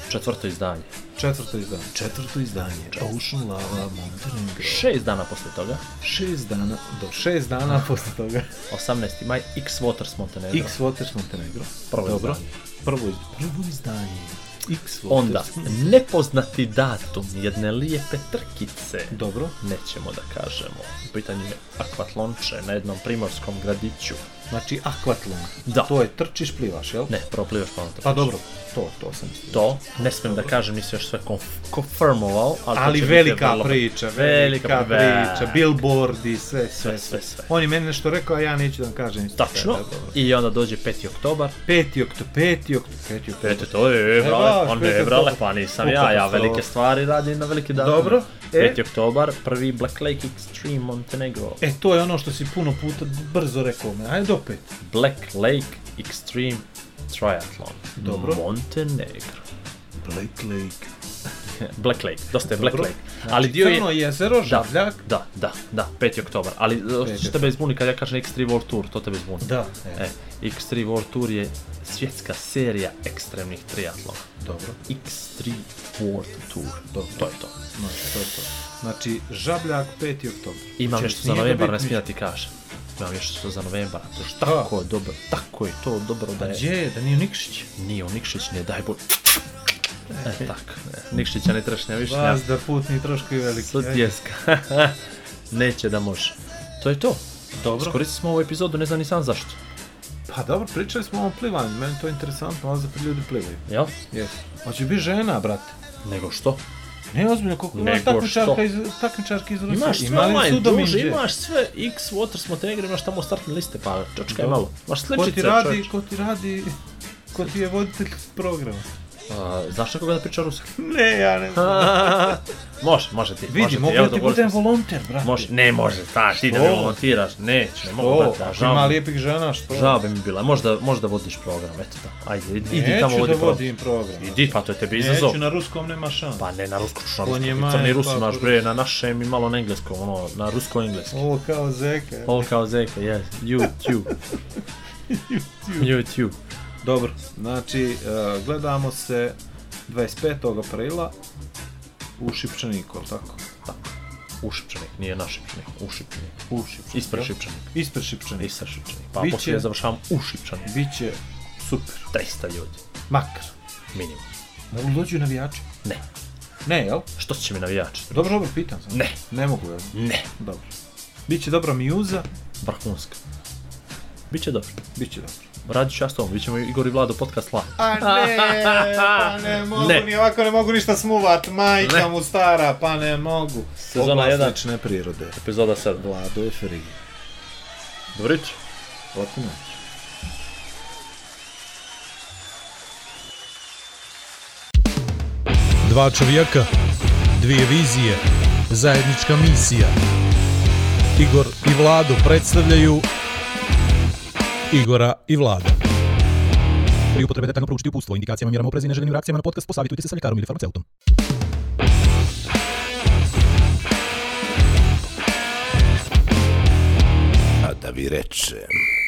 Speaker 4: četvrto izdanje.
Speaker 3: četvrto izdanje. Četvrto izdanje, Ocean Lava Montenegro.
Speaker 4: Šest dana posle toga,
Speaker 3: Šest dana, do šest dana posle toga.
Speaker 4: 18. maj, X Waters Montenegro.
Speaker 3: X Waters Montenegro.
Speaker 4: Prvo
Speaker 3: Dobro.
Speaker 4: izdanje.
Speaker 3: Prvo E, izdanje. Prvo izdanje. X Waters.
Speaker 4: Onda, nepoznati datum jedne lijepe trkice.
Speaker 3: Dobro.
Speaker 4: Nećemo da kažemo. U pitanju je akvatlonče na jednom primorskom gradiću.
Speaker 3: Znači, akvatlon.
Speaker 4: Da.
Speaker 3: To je trčiš, plivaš, jel?
Speaker 4: Ne, proplivaš pa onda trčiš.
Speaker 3: Pa dobro, to, to sam mislio.
Speaker 4: To, ne smem da kažem, nisam još sve konf- konfirmovao, ali, to
Speaker 3: Ali
Speaker 4: će biti
Speaker 3: velika
Speaker 4: vrlo-
Speaker 3: priča, velika,
Speaker 4: velika
Speaker 3: priča, billboardi, sve, sve,
Speaker 4: Sve,
Speaker 3: sve.
Speaker 4: sve, sve.
Speaker 3: On je meni nešto rekao, a ja neću da vam kažem. ništa.
Speaker 4: Tačno,
Speaker 3: Sve, dobro.
Speaker 4: i onda dođe 5. oktobar,
Speaker 3: 5. oktober, 5. oktober, 5.
Speaker 4: Eto
Speaker 3: oktober.
Speaker 4: to je, brale,
Speaker 3: baš,
Speaker 4: pa
Speaker 3: peti
Speaker 4: ne, brale,
Speaker 3: oktobar.
Speaker 4: pa nisam
Speaker 3: U
Speaker 4: ja, ja
Speaker 3: katastrofu.
Speaker 4: velike stvari radim na veliki datum.
Speaker 3: Dobro, e.
Speaker 4: 5. oktobar, prvi Black Lake Extreme Montenegro.
Speaker 3: E, to je ono što si puno puta brzo rekao me. Ajde opet.
Speaker 4: Black Lake Extreme Triathlon.
Speaker 3: Dobro.
Speaker 4: Montenegro.
Speaker 3: Black Lake.
Speaker 4: Black Lake, dosta je Black
Speaker 3: Dobro. Znači,
Speaker 4: Lake. Ali dio je...
Speaker 3: Crno jezero,
Speaker 4: Da,
Speaker 3: žabljak.
Speaker 4: da, da, da, 5. oktobar. Ali e, što tebe zbuni kad ja kažem X3 World Tour, to tebe zbuni.
Speaker 3: Da, e,
Speaker 4: E, X3 World Tour je svjetska serija ekstremnih triatlona.
Speaker 3: dobro.
Speaker 4: X3 World Tour, to je to.
Speaker 3: Znači, to je to. Znači, žabljak 5. oktober.
Speaker 4: Imam
Speaker 3: Znači,
Speaker 4: nešto za
Speaker 3: nije
Speaker 4: novembar,
Speaker 3: da
Speaker 4: ne
Speaker 3: biti
Speaker 4: smijem da ti kažem. Imam nešto za novembar, to je
Speaker 3: ništa.
Speaker 4: tako je dobro, tako je to dobro da
Speaker 3: A
Speaker 4: je...
Speaker 3: Gdje je, da nije Nikšić?
Speaker 4: Nije on Nikšić, nije daj bol... E, tak, ne. Nikšića ne trešnja više, ja
Speaker 3: Vas da putni troškovi veliki. ajde.
Speaker 4: sutjeska. Neće da može. To je to.
Speaker 3: Dobro.
Speaker 4: Iskoristili smo ovu epizodu, ne znam ni sam zašto.
Speaker 3: Pa dobro, pričali smo o ovom plivanju, meni to je interesantno, ali zato ljudi plivaju.
Speaker 4: Jel?
Speaker 3: Jes. Hoće biti žena, brate.
Speaker 4: Nego što?
Speaker 3: Ne, ozbiljno, koliko imaš
Speaker 4: Nego što?
Speaker 3: takmičarka iz, takmičarka iz Rusije?
Speaker 4: Imaš sve
Speaker 3: Ima li
Speaker 4: online
Speaker 3: Sudomin
Speaker 4: duže,
Speaker 3: Đe?
Speaker 4: imaš sve X, Waters, Montenegro, imaš tamo startne liste, pa čočkaj
Speaker 3: Dobro.
Speaker 4: malo. Imaš
Speaker 3: Ko
Speaker 4: sličice,
Speaker 3: ti radi,
Speaker 4: čovječe.
Speaker 3: ko ti radi
Speaker 1: Ko ti je voditelj programa?
Speaker 4: A, znaš nekoga Pa, da priča ruski?
Speaker 1: Ne, ja ne znam.
Speaker 4: može, može ti. može
Speaker 1: Vidi, mogu
Speaker 4: evo,
Speaker 1: da ti
Speaker 4: dogovorite
Speaker 1: budem
Speaker 4: se.
Speaker 1: volonter, brate.
Speaker 4: Može, ne može, znaš, ti da me
Speaker 1: Što?
Speaker 4: volontiraš, neću, ne mogu,
Speaker 1: O,
Speaker 4: brate, a
Speaker 1: ako
Speaker 4: žao
Speaker 1: ima
Speaker 4: mi,
Speaker 1: lijepih žena, što?
Speaker 4: žao bi mi bila, možda, možda vodiš program, eto da, ajde, idi, idi tamo
Speaker 1: Neću
Speaker 4: vodi
Speaker 1: da
Speaker 4: program.
Speaker 1: vodim program.
Speaker 4: Idi, pa to je tebi izazov.
Speaker 1: Neću, na ruskom nema šans.
Speaker 4: Pa ne, na ruskom ću na
Speaker 1: On je
Speaker 4: ruskom,
Speaker 1: majka,
Speaker 4: crni rus
Speaker 1: pa,
Speaker 4: imaš
Speaker 1: pa,
Speaker 4: bre, na našem i malo na engleskom, ono, na rusko-engleski.
Speaker 1: Ovo kao zeka.
Speaker 4: Ovo kao zeka, yes, YouTube. YouTube.
Speaker 3: Dobro, znači e, gledamo se 25. aprila u Šipčaniku, jel tako?
Speaker 4: U Šipčanik, nije na Šipčanik, u Šipčanik.
Speaker 1: U Šipčaniku.
Speaker 4: Ispred Šipčanik,
Speaker 1: Ispred Šipčanika.
Speaker 4: ispred Šipčanik. Pa
Speaker 3: Biće-
Speaker 4: poslije završavam u Šipčanik.
Speaker 3: Biće super,
Speaker 4: 300 ljudi,
Speaker 3: makar.
Speaker 4: minimum.
Speaker 3: Da li dođu navijači?
Speaker 4: Ne,
Speaker 3: Ne, jel?
Speaker 4: što će mi navijači?
Speaker 3: Dobro, dobro, pitan sam.
Speaker 4: Ne.
Speaker 3: Ne mogu, jel?
Speaker 4: Ne,
Speaker 3: Dobro. Biće dobra mjuza,
Speaker 4: vrhunska. Biće dobro.
Speaker 3: biće dobro.
Speaker 4: Radit ću ja s tobom, bit ćemo Igor i Vlado podcast live.
Speaker 1: A ne, pa ne mogu,
Speaker 4: Ne.
Speaker 1: ni ovako ne mogu ništa smuvat, majka
Speaker 4: Ne.
Speaker 1: mu stara, pa ne mogu.
Speaker 4: Sezona
Speaker 3: Oglas
Speaker 4: jedan.
Speaker 3: lične prirode.
Speaker 4: Epizoda 7.
Speaker 3: Vlado je free.
Speaker 4: Dobro jutro.
Speaker 3: Potpuno.
Speaker 2: Dva čovjeka, dvije vizije, zajednička misija. Igor i Vlado predstavljaju Igora i Vlada. Pri upotrebi detaljno proučiti upustvo, indikacijama, mjerama oprezi i neželjenim reakcijama na podcast posavitujte se sa ljekarom ili farmaceutom.
Speaker 5: A da vi rečem,